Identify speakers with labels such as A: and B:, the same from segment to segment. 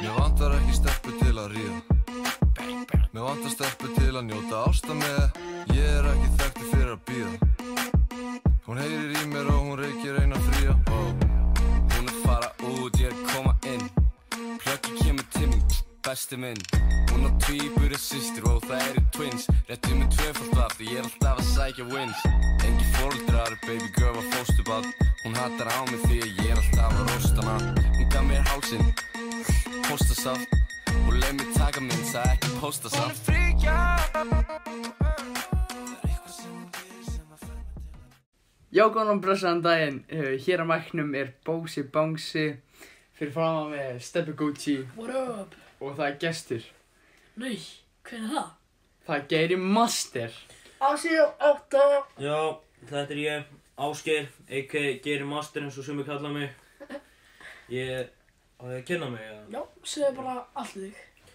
A: Mér vantar ekki stelpu til að ríða Mér vantar stelpu til að njóta ásta með Ég er ekki þekkti fyrir að býða Hún heyrir í mér og hún reykir eina fría oh.
B: Hún er fara út, ég er að koma inn Plöggi kemur til mín, besti minn Hún á tvíburi sýstir og það eru twins Réttu með tvöfald af því ég er alltaf að sækja wins Engi fóreldrar, baby girl var fóstubad Hún hattar á mig því að ég er alltaf að rosta hana Hún gaf mér hálsinn, póstasaft Hún leið mér taka minn, það er ekki póstasaft
C: Já, góðan og blessaðan daginn, uh, hér á mæknum er Bósi Bangsi fyrir fram að með Steppi Gucci
D: What up?
C: og það er gestur.
D: Nei, hvernig er það?
C: Það er Geiri Master.
E: Já, þetta er ég, Ásgeir, a.k.a. Geiri Master eins og sumir kalla mig. Ég, á ég að kynna mig, já.
D: Já, segðu bara allt við þig.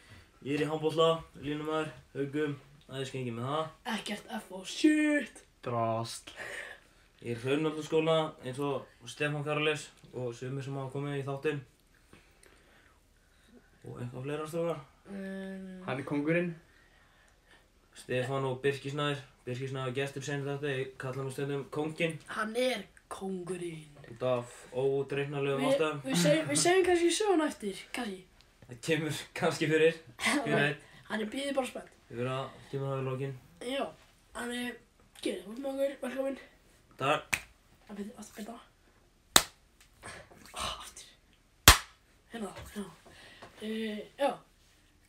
E: Ég er í handbólla, línumæður, haugum, aðeins gengið með það.
D: Ekkert F og shit.
C: Drast.
E: Ég er hraunöldaskóla eins og Stefán Karlis og sumir sem hafa komið í þáttinn. Og eitthvað fleira strókar.
D: Um,
C: Hann er kongurinn.
E: Stefán og Birkisnæður. Birkisnæður gestur senir þetta, ég kalla mig stundum Kongin.
D: hann er kongurinn.
E: Út af ódreiknarlegum
D: Við
E: ástæðum.
D: við segjum, við segjum kannski söguna eftir, kannski.
E: Það kemur kannski fyrir, hver veit.
D: hann er býðið bara spennt.
E: Ég verða, kemur það í lokin.
D: Já, hann er, gerðið, hún með okkur, velkomin.
E: Takk.
D: Hann býðið aftur byrta. Ah, aftur. Hérna, það, já. Uh, já,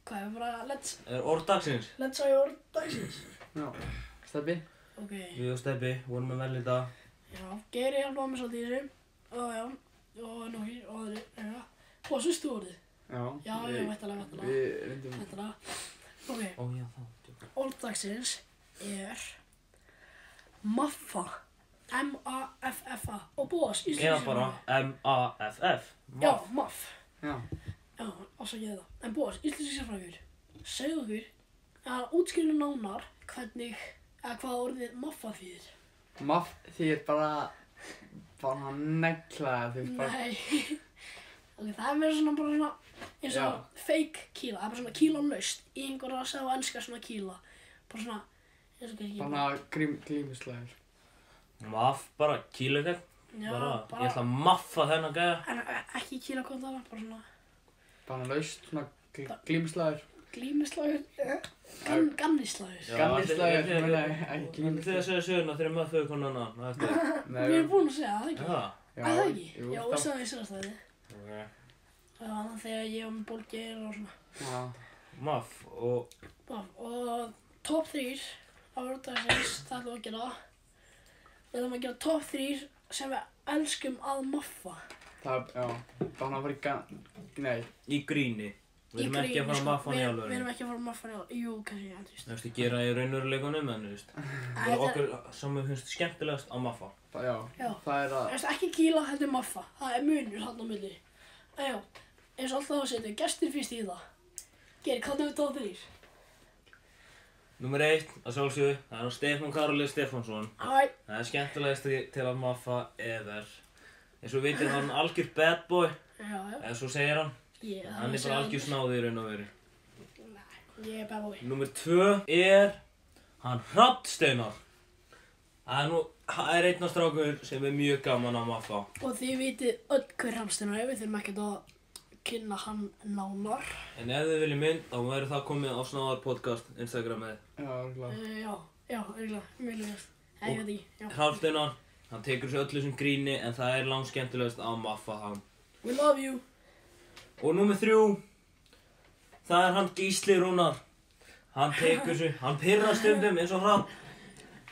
D: hvað er bara, let's,
E: er orð dagsins.
D: let's say your dagsins.
C: Já. Steppi.
D: Ok,
E: Við og Steppi vorum að velja þetta.
D: já, Geiri hjálpaði mér svolítið í þessu. Og já, og nokkir, og aðri, já. Og svo stúrið.
C: Já.
D: Já, já, vettalega, vettalega.
C: Við reyndum.
D: Þetta er það. Ok,
E: Ó já, þá.
D: orðdagsins er Maffa. M-A-F-F-A. Og bóðas í
E: Eða bara M-A-F-F.
D: Já, maff.
C: Já.
D: Já, ásakið þetta. En bóðas, íslenski sérfræðingur. Segðu okkur að útskýrinu nánar hvernig, eða hvað orðið maffa þýðir.
C: Maff þýr bara, bara negla þú veist bara.
D: Nei. ok, það er meira svona bara svona, eins og
C: Já.
D: fake kíla. Það er bara svona kíla laust í einhverja að segja á enska svona kíla. Bara svona, eins og ekki.
C: Bara grím, glímuslæður.
E: Maff, bara kýla eitthvað.
D: Já,
E: Bara,
D: bara-
E: ég ætla að maffa þennan gæja.
D: En e- ekki kíla kontana, bara svona
C: Bara laust svona gl glímuslæður.
D: glímislagur, gan, gannislagur.
C: Gamli slagur, meina ég, ekki
E: Þegar þið að segja söguna þegar maður fyrir konan annan. á eftir.
D: Við erum búin að segja það, ekki?
E: Já.
C: Já,
D: Er það ekki?
C: jú,
D: Já,
C: það-
D: við sagðum í sérastæði.
E: ok.
D: Það var annað þegar ég var með bólgeir og svona.
C: Já.
E: Maff og
D: Bá, og top 3 á vörðdagsins, það ætlum við að gera. Við ætlum að gera top 3 sem við elskum að maffa.
C: Það, já. Bara að fara í gann. Nei.
E: í gríni. Við erum ekki að fara að maffa hann í
D: sko. Við erum
E: alveg.
D: ekki að fara að maffa hann í alvöru. Jú, kannski, en þú veist.
E: Það ertu að gera í raunveruleikunum en þú veist. Það er
D: Þetta-
E: okkur sem við finnst skemmtilegast að maffa.
C: Það, já.
D: Já.
C: Það er að.
D: Þú veist, ekki kíla, heldur maffa. Það er munur hann á milli. En já, eins og alltaf að setja gestur fyrst í það. Geir, hvað er við top 3?
E: Númer eitt, að sjálfsögðu, það er hann Stefán Karolið Stefánsson.
D: Æ,
E: Það er skemmtilegast til að maffa ever. Eins og við vitum hann er algjör bad boy,
D: já, já.
E: eða svo segir hann.
D: Ég,
E: Hann er bara algjör snáði í raun og veri.
D: Nei, ég er bara bói.
E: Númer tvö er hann Hrattsteinar. Það er nú, það er einn af strákur sem er mjög gaman að maffa.
D: Og þið vitið öll hver Ramsteinar er, við þurfum ekkert að kynna hann nánar.
E: En ef þið viljið mynd, þá verður það komið á Snáðar podcast Instagramið.
C: Já, örgulega.
D: Uh, já, já, eiginlega, mjög legast. Nei, ég veit ekki, já.
E: Hrattsteinar, hann tekur sér öllu sem gríni en það er langt skemmtilegast að maffa hann.
D: We love you.
E: Og númer þrjú Það er hann Gísli Rúnar Hann tekur sig, hann pyrrar stundum eins og hrann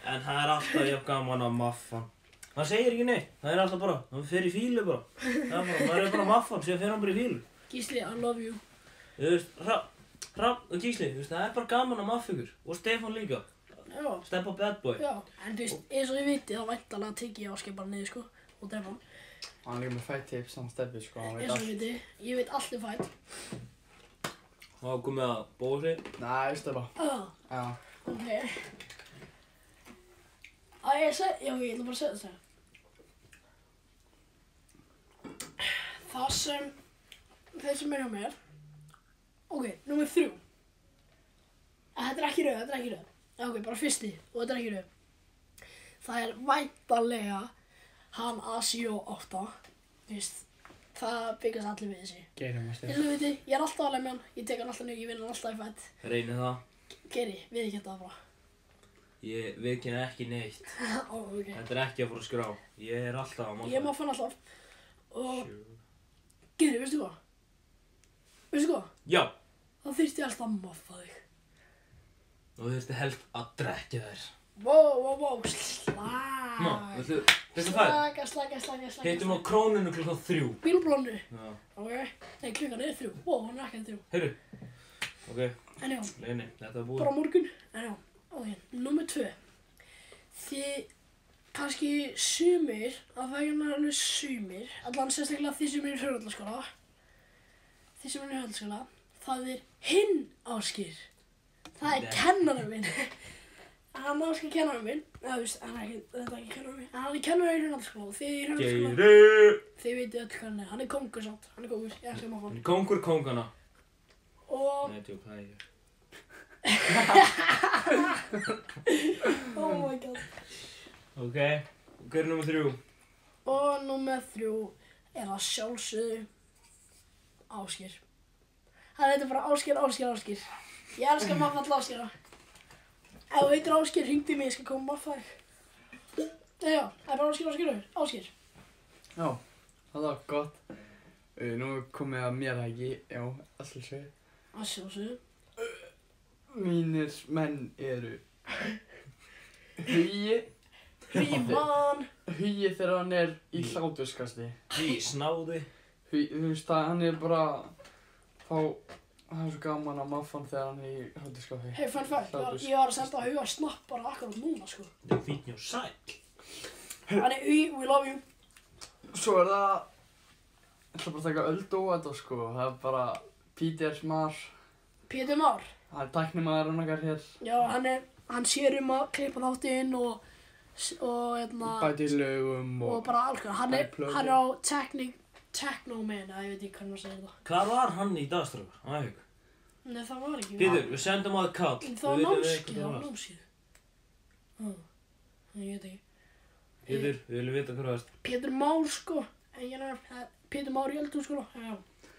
E: En það er alltaf jafn gaman að maffa hann. Hann segir ekki neitt, það er alltaf bara, hann fer í fílu bara Það er bara, maður er bara að maffa hann, síðan fer hann bara í fílu
D: Gísli, I love you.
E: Þú veist, Hrafn, Hrafn og Gísli, þú veist, það er bara gaman að maffa ykkur Og Stefán líka,
D: Já,
E: Steppa Bad Boy
D: já. En þú veist, eins og þið vitið, þá væntalega tekið ég áskip bara niður, sko. Og drepa hann.
C: Hann er líka með fætt tips, hann stefið sko, hann veit
D: Eins og
C: allt.
D: þið vitið, ég veit um allir fætt.
E: Þá er komið að bóða sig
C: Nei, stefa.
D: Ah.
C: Já.
D: Ok. Að ég seg, já, ég ætla bara að segja þetta. Það sem, þeir sem er hjá mér, Ok, nummið þrjú. Eh, Þetta er ekki rauð, þetta er ekki rauð. Eh, Ok, bara fyrsti og þetta er ekki rauð. Það er væntalega hann A78. Þú veist, það byggast allir við þessi.
C: Geirum að
D: Ég veit, ég er alltaf alveg með hann, ég tek hann alltaf njög, ég vinn hann alltaf í fætt.
E: Reyni það.
D: Geri, við ekki þetta bara.
E: Ég viðkynna ekki neitt.
D: Ó, ok.
E: Þetta er ekki að fara að skrá. Ég er alltaf á málfæri.
D: Ég má fann alltaf. Og Geri, veistu hvað? Veistu hvað?
E: Já.
D: Það þyrfti ég alltaf að maffa þig.
E: Nú þurfti helst að drekja þér.
D: Wow, wow, wow,
E: Ná,
D: slag.
E: viltu, viltu það?
D: Slaga, slaga, slaga, slaga.
E: Hittum á króninu klukkan þrjú.
D: Bílblónu.
E: Já.
D: Ok, nei klukkan er þrjú, ó, hann er ekki en þrjú
E: Heyrðu. Ok,
D: En já,
E: Leini, þetta
D: bara
E: er búið.
D: á morgun En já, ok, nummer tvö Þið, kannski sumir Það vegna er hérna alveg sumir Allan sérstaklega þið sem eru í hrjóðallaskóla Þið sem eru í hrjóðallaskóla Það er hinn áskir Það er
E: Nei.
D: kennarinn minn Hann áskir kennarinn minn Það veist, hann er ekki, þetta er ekki kennarinn minn En hann er kennarinn í hrjóðallaskóla og Þið í hrjóðallaskóla,
E: Geiri!
D: þið veitir öll hvað hann er Hann er kongur samt, hann er kongur, ég ætlum að hann
E: Hann er kongur kongana.
D: Og
E: Nei, tjók, það er ég.
D: Oh my god
E: Ok, hver er nummer þrjú?
D: Og nummer þrjú er að sjálfsögðu Áskir Það heitir bara Áskir, Áskir, Áskir Ég elska að maffa alltaf Áskira Ef þú heitir Áskir, hringdu í mig, ég skal koma að maffa þig Nei, já, það er bara Áskir, Áskir, Áskir
C: Já, það var gott. Uh, nú er komið að mér það ekki, já, alltaf sér.
D: Að sjálfsögðu
C: Mínir menn eru Hugi,
D: Hríman
C: Hugi þegar hann er í hláturskasti.
E: Please, náði.
C: Hugi, þú veist það, hann er bara, þá, það er svo gaman að maffa hann þegar hann er í hláturskasti.
D: Hey, fun fact, ég var- ég var að senda að huga að snapp bara akkurat núna, sko
E: Þetta er fítni og sæl.
D: Þannig, we, we love you
C: Svo er það, ég ætla bara að taka öld og þetta sko, það er bara Peter Mar,
D: Pétur Már
C: það er tæknimaðurinn okkar hér.
D: Já, hann er, hann sér um að klippa þáttinn og og, hérna
C: Bæti í lögum
D: og bara alls konar, hann er,
C: Upload.
D: hann er á Technic Technoman, að ég veit ekki hvernig að segja þetta
E: Hvar var hann í dagströfur? Æg.
D: Nei, það var ekki
E: Pítur, við sendum að kall.
D: En
E: Við
D: það var
E: vitum
D: námskið, það
E: hvað það
D: var
E: var.
D: námskið Há, ég veit ekki
E: Pítur, við viljum vita hvað það varst.
D: Pétur Már, sko en ég nefnir, eh, Pétur Már í eldur, sko já,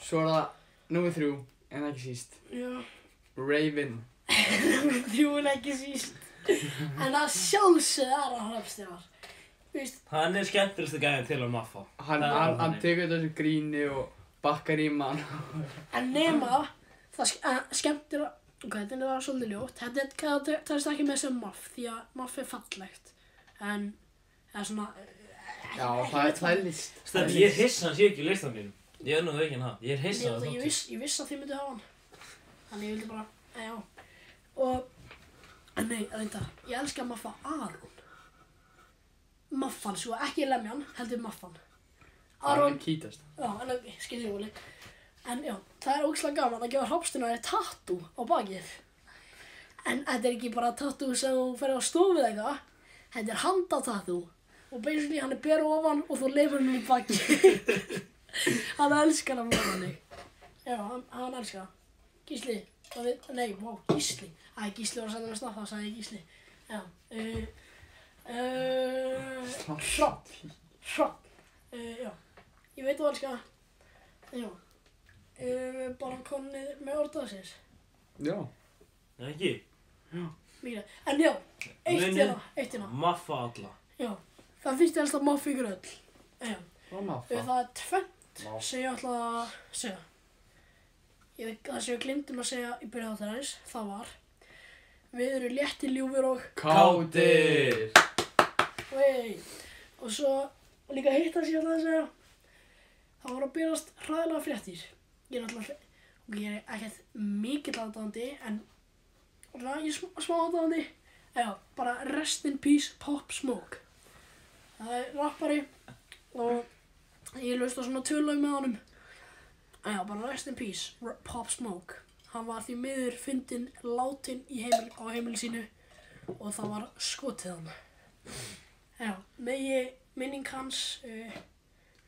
C: Svo er það nummið þrjú, en ekki síst,
D: já,
C: Raven.
D: þrjúin ekki síst en að sjálfsögðu er að hrafstjáðar veist,
E: Hann er skemmtilegstu gæðin til að maffa.
C: Hann,
E: Það er
C: hann, hann
E: alveg þannig.
C: tekur þessu gríni og bakkar í mann.
D: en nema það ske- eh, skemmtir að ok, þetta var svolítið ljótt þetta er- það það telst ekki með sem maff því að maff er fallegt en, eða svona
C: Já, það er, það er list.
E: Stepp, ég er hissa hann sé ekki í listan mínum. Ég er nú ekki hann það. Ég
D: Ég,
E: er hissa
D: ég, viss, ég viss að þið myndið hafa hann Þannig ég vildi bara, að já Og, en nei, reyndar Ég elska að maffa Aron Maffan, svo ekki lemjan Heldur maffan
C: Það er
D: Aron,
C: kítast.
D: já, en ok, skilja ég voli En já, það er ógislega gaman að gefa hrópstinu að það er tattu á bakið En þetta er ekki bara tattu sem þú ferði á stofið eitthvað Þetta er handatattu Og basically hann er beru ofan og þú leifur hann í bakið hann elskar að móða mig já, hann, hann elskar það Gísli, það við, nei, vá, Gísli Æ, Gísli var að senda mér snapp, þá sagði ég Gísli Já, uh, uh, Hrafn Hrafn, uh, já Ég veit þú elskar það Já uh, Bara konið með orðaðsins
C: Já.
E: Nei, ekki.
D: Mýra, en já, eitt
E: Munið.
D: hérna, eitt hérna
E: Maffa alla.
D: Já, það finnst ég alltaf maffi ykkur öll Já,
C: Og
D: ef
C: maffa.
D: það er tvennt
C: Vá.
D: sem ég ætla að segja Ég veit það sem ég glimtum að segja í byrjað þarins, það var Við erum létti ljúfur og
C: Kátir.
D: vei Og svo líka hitt að ég ætla að segja Það var að byrjast hræðilega fréttir Ég er alltaf, og ég er ekkert mikill aðdáðandi en ræ- ég er smá, smá aðdáðandi Já, bara rest in peace Pop Smoke Það er rappari og ég laust á svona tölög með honum Já, bara rest in peace R- Pop Smoke Hann var því miður fyndin látin í heimil, á heimil sínu og það var skotið hann Já, megi minning hans uh,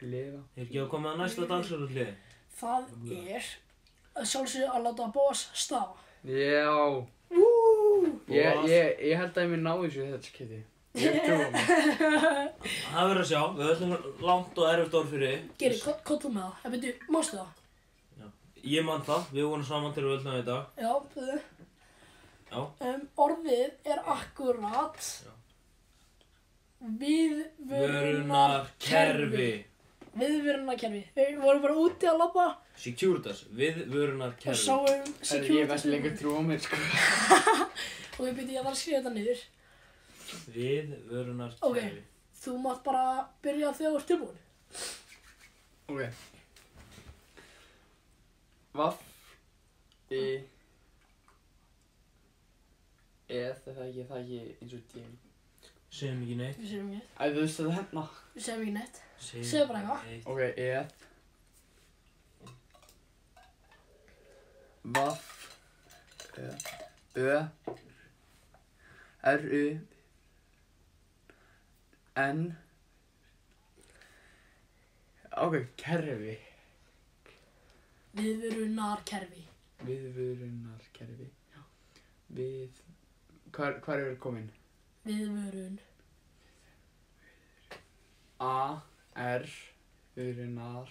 C: Lifa.
E: Er ekki að koma að næsta dansarúlið?
D: það er að sjálfsögðu að láta bós stafa.
C: Já,
D: Ú!
C: ég,
E: Boss.
C: ég, ég held að ég mér ná þessu í þetta skiti. Ég trúa mig.
E: Það verður að sjá, við öllum langt og erfitt orð fyrir þig.
D: Geri, kottum með það. Það byrju, mástu það?
E: Ég man það, við vorum saman til við öllum í dag.
D: Já, byrju.
E: Já.
D: Um, orðið er akkurat
E: Já.
D: viðvörunarkerfi.
E: Vörunarkerfi.
D: Viðvörunarkerfi. Við vorum bara úti að labba
E: Securitas, við
D: og
E: vörunarkerfi.
D: sáum
C: Herri, Ég veit lengur trúa mér, sko.
D: Og ég byrju, ég var að skrifa þetta niður.
E: Við vörunarkerfi.
D: Þú mátt bara byrja þegar þú ert tilbúin.
C: Ok. Vaff. Í. Eð, það er ekki, það er ekki eins og dým.
E: Segjum ekki neitt.
D: Við segjum ekki neitt.
C: Æ, þú veist þetta hérna.
D: Við segjum ekki neitt.
E: Segjum
D: Segðu bara eitthvað.
E: neitt.
C: Ok, eð. Vaff. Ö. Ö. R-U. N. Ok, kerfi.
D: Viðvörunarkerfi.
C: Viðvörunarkerfi. Við... Hvar, hvar er komin?
D: Viðvörun.
C: A, R, Urunar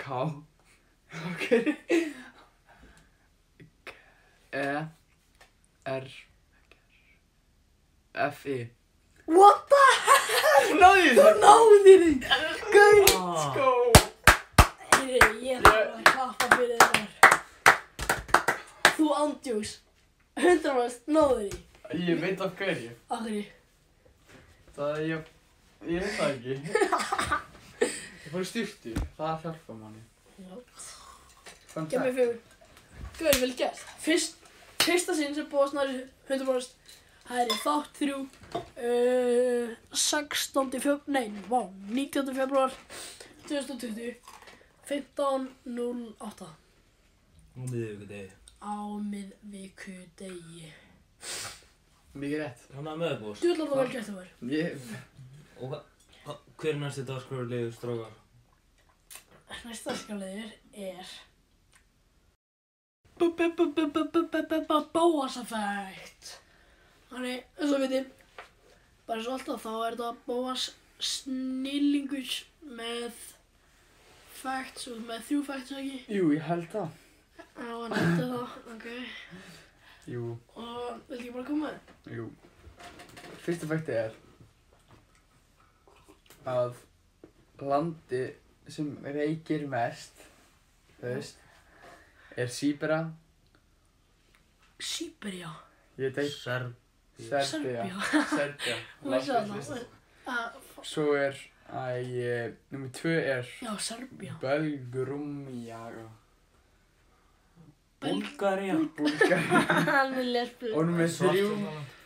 C: K Ok E, R F, E. I
D: What the
C: Náðu
D: Þú náðir þig! Gauð!
E: Ah,
C: Go
D: Heyri, ég þarf að klappa fyrir þér. Þú andjús. 100% náður því.
C: Ég veit af hverju
D: Akkurri.
C: Það er ég Ég veit það ekki Ég fór styrtu Það hjálpa manni Fun
D: Gef mér
C: fact.
D: fjögur. Gauð, vel gert. Fyrst, fyrsta sinn sem búið að snæri 100%. Það er í þátt þrjú. Uh, 16. februar, nei, vá, 19. februar 2020. 15.08
E: Nú miðjum við þig.
D: á miðviku degi.
C: Mikið rétt
E: Hann er meðbúst.
D: Þú ætlar að vel gert það var.
C: Ég
E: Og hva- hver er næsti dagskröðurlegu strókar?
D: Næsta skjáliður er Bóaseffekt Þannig, eins og við veitum bara svo alltaf þá er þetta Bóas snillingur með facts og með þrjú facts ekki
C: Jú, ég held það
D: Já, hann hætti það, ok
C: Jú
D: Og vildi ekki bara koma með?
C: Jú. Fyrsta fætti er að landi sem reykir mest, þú veist, er Sýbera,
D: Sýberja
C: ég veit ekki,
E: Serb.
C: Serbia,
D: Serbía.
C: Serbia,
D: Hún veist
C: landið
D: það
C: fyrst.
D: það Ah,
C: Svo er, æ, nummið tvö er
D: Já, Serbía
C: Belgrumja,
E: Búlgaria.
C: Búlgar,
D: Hann er lesbú
C: og nummið þrjú,
E: Svartfjallaland.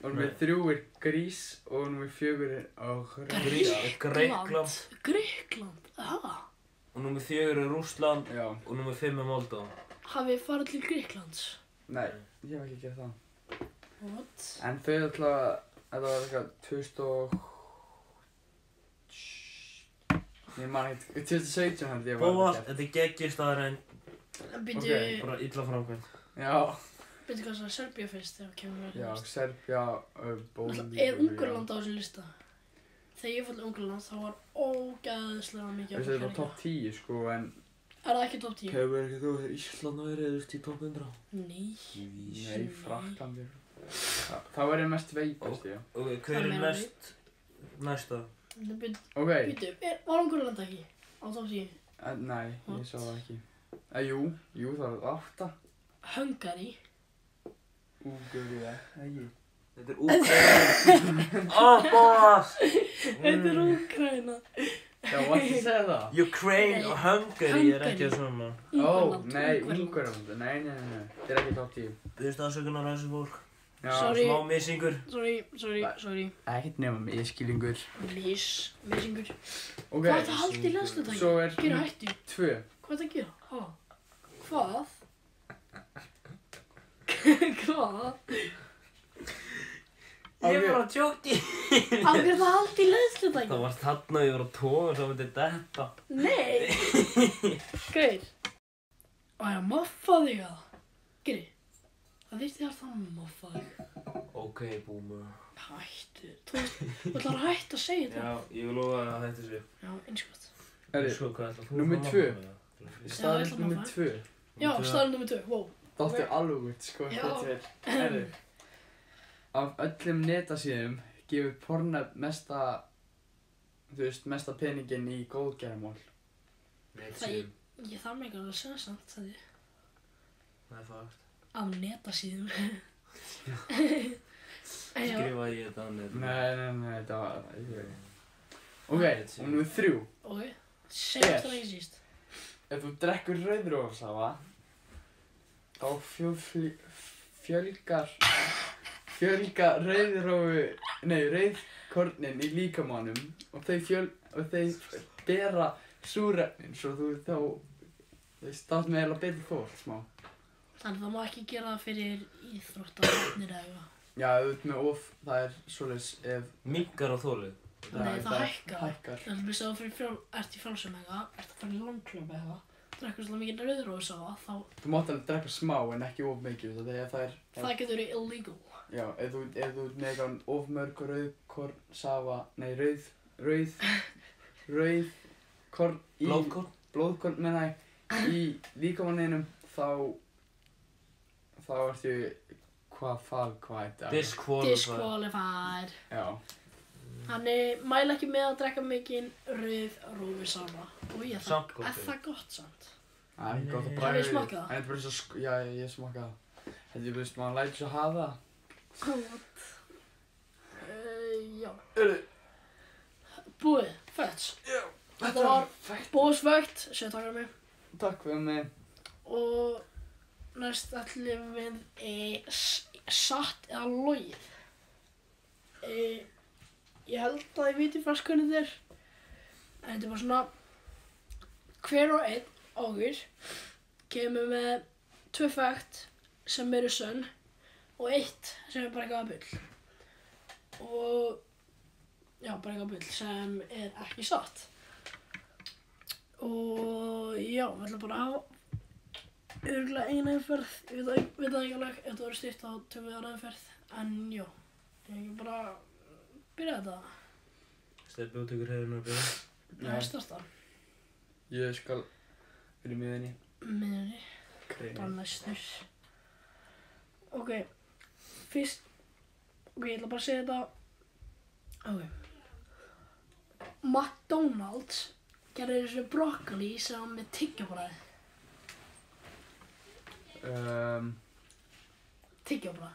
C: og nummið þrjú er Grís og nummið fjögur er Áhrif.
E: Grís-
D: Greikland
E: Grikkland.
D: Greikland, aha
E: Og nummið fjögur er Rússland.
C: Já,
E: Og nummið fimm er Moldova.
D: hafið þið farið til Gríklands.
C: nei, ég hef ekki gert það.
D: What?
C: En þau alltaf, þetta var eitthvað 2000 og... Ég man ekki, 2017 held ég var
E: Bóas,
C: gert.
E: þetta er geggjist aðrein.
D: Býtu,
C: Ok,
E: Bara illa framkvæmt.
C: Já,
D: býtu hvað svona Serbia fyrst þegar kemur verið
C: já,
D: næst.
C: Serbia, uh, Bólíu...
D: Er Ungurland á þessu lista? Þegar ég fór til Ungurland þá var ógæðislega mikið
C: Þú
D: af
C: veist, þetta var
D: Balkaríkjum.
C: topp 10 sko, en...
D: Er það ekki top 10?
E: Hefur ekki þú verið Ísland og verið í top 100?
D: Nei.
C: Nei, Fraklandi. Þa- Þá er ég mest veikast, já.
E: Ok,
D: Það
E: hver er
D: meina
E: næst, næsta?
D: Býtu,
C: Ok,
D: býtu, er- var Ungurland ekki á top 10?
C: en nei, ég sá það ekki. Eh, jú, jú, það var 8.
D: Hungary.
C: Ungurja, ekki.
E: Þetta er Úkraina. Ó, Ah, Bóas!
C: Mm.
E: Mm.
D: Þetta er Úkraina.
C: Já, var ekki að segja það?
E: Ukraine og Hungary er ekki að svona.
C: Ó,
D: Ungurland.
C: Oh, nei, Ungurland, nei, nei, nei, nei, þetta er ekki topp 10.
E: Byrðist aðsökunar á þessu fólk.
C: Já,
D: Sorry.
E: Smá missingur.
D: Sorry, sorry, sorry.
C: Ekkert nema miskilingur.
D: Mis, misingur.
C: Ok,
D: Hvað er það haldið í landslutakki?
C: svo er
D: Gera hættu.
C: tvö.
D: Hvað er það að gera? Ha? Hvað? Hvað?
E: Ég
C: Ok.
E: bara tjókti
D: Af hverju er það haldi í leiðslutæki?
E: Það var þarna ég var að tóa svo myndi þetta
D: Nei! Gauir. Á ég að moffa þig að það? Geri, það þýtti að það moffa þig.
E: Ok, boomer
D: Hættu. Þú veist, þú ætlar að hætta að segja þetta.
E: Já, ég vil lofa þér að þetta sé
D: Já, eins og gott.
C: Herri,
E: Sko, hvað ætla þú
C: Númer
E: að
C: tvö.
E: hafa?
D: Já,
C: staðinn
D: ég ætla að
C: nummer
D: fara.
C: 2.
D: Já, staðin nummer 2, wow.
C: Þáttu alveg út, sko,
D: Já.
C: hvað til. Herri, af öllum netasíðum gefur Pornhub mesta, þú veist, mesta peningin í góðgerðmál.
D: Það
E: Netsíðum.
D: ég, ég þarf mig ekki alveg að segja samt það ég.
E: Nei, fakt
D: Af netasíðum. En já,
E: Skrifaði ég þetta á netinu.
C: Nei, nei, nei, þetta var, ég veit. Ok, og nummer 3.
D: ok. Segjast það
C: Yes.
D: ekki síst.
C: Ef þú drekkur rauðrófsafa, þá fjölfli, fjölgar, fjölga rauðrófu, nei, rauðkornin í líkamannum og þau fjöl, og þau bera súrefnin svo þú þá, þú veist, þá erum við eiginlega betur þór, smá.
D: Þannig það má ekki gera það fyrir íþróttarnir eða eitthvað.
C: Já, þú veit með of, það er svoleiðis ef
E: Minkar á þólið
D: Nei, það hækkar.
C: hækkar.
D: Það er alveg svo fyrir frjál, ert í frjálsum eða eitthvað, ert að fara í langklöf eða eitthvað, drekkur svolítið mikið rauðrósa og þá,
C: Þú mátt alveg drekka smá en ekki of mikið, þú veist, af því að það er,
D: það getur verið illegal.
C: já, ef þú, ef þú ert með eitthvað of mörg rauðkorn, safa, nei, rauð, rauð, rauð, korn í,
E: Blóðkorn
C: blóðkorn menna ég, í líkamanninum, þá, þá ertu, hvað, hvað, hvað er þetta?
E: Disqualified
D: Disqualified.
C: Já,
D: Þannig mæla ekki með að drekka mikinn rauð rófi sama. Og ég
E: Samt
D: það,
E: gott,
D: er
E: já.
D: það gott samt?
C: það er gott
E: Nei.
C: að bræða
D: Hefurðu smakkað það?
C: En þetta er bara svo, sk- já, ég- ég smakka það. Þetta er bara svo, maður lætur svo hafa það.
D: What? Uh, já.
C: Heyrðu.
D: Búið, fæts.
C: Já,
D: Þetta var
C: fætt.
D: bóðsvægt, séu takkar mig.
C: Takk fyrir mig.
D: Og næst ætlum við e, s- satt eða logið. E, ég held að ég viti fast hvernig þetta er. En þetta er bara svona, hver og einn águr kemur með tvö fægt sem eru sönn og eitt sem er bara eitthvað bull. Og já, bara eitthvað bull sem er ekki satt. Og já, við ætlum bara að hafa Örgulega eina umferð, ég veit það- veit það ekki alveg, ef þetta verður stýrt þá tökum við aðra umferð, en já, ég ekki bara byrja þetta,
E: Steppi út ykkur hefðinu að byrja
D: það er stærsta,
C: Ég skal fyrir miðinni.
D: miðunni, bara
C: Kreinu.
D: næstur. Ok, fyrst, ok, ég ætla bara að segja þetta, ok, McDonalds gerði þessu brokkoli sem var með tyggjóbræði,
C: Um,
D: tyggjóbræði,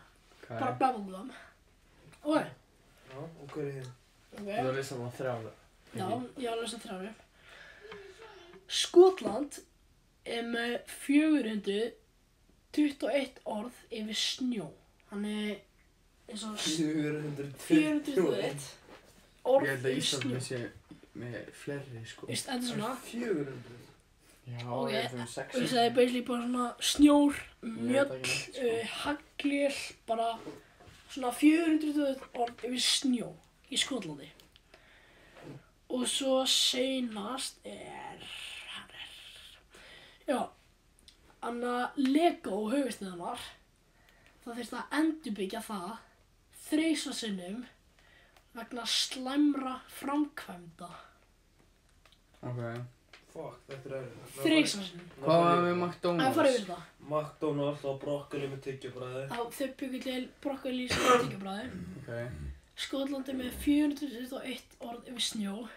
C: hvað
D: bara
C: er?
D: bubblegum, ok,
E: Já, og hver er hér?
D: ok.
C: Þú þarf að lýsa það þrjá.
D: Já,
C: Mhm.
D: ég var að lesa þrjáru. Skotland er með 421 orð yfir snjó. Hann er eins og s- 421
C: Ég
D: orð
C: held að
D: yfir snjó.
C: Ísland sé með fleiri sko.
D: Veist, þetta er svona,
E: 400
C: Já,
D: Ok,
C: ég held um sex.
D: veist, það er basically bara svona snjór,
C: Ég
D: mjöll,
C: veit ekki neitt, sko.
D: uh, haglél, bara svona 421 orð yfir snjó í Skotlandi. Og svo seinast er, hann er, já, anna Lego höfustiðanar, það þurfti að endurbyggja það þreysa sinnum vegna slæmra framkvæmda.
C: Ok.
E: Fuck, þetta er erfið
D: Þreysa sinnum.
C: Hvað var með
D: Það er farið
C: McDonalds?
D: yfir það.
E: McDonalds og brokkoli með tyggjabræði
D: Þá þau byggur til brokkoli sem er tíkabræði.
C: Ok.
D: Skotlandi með 421 orð yfir snjó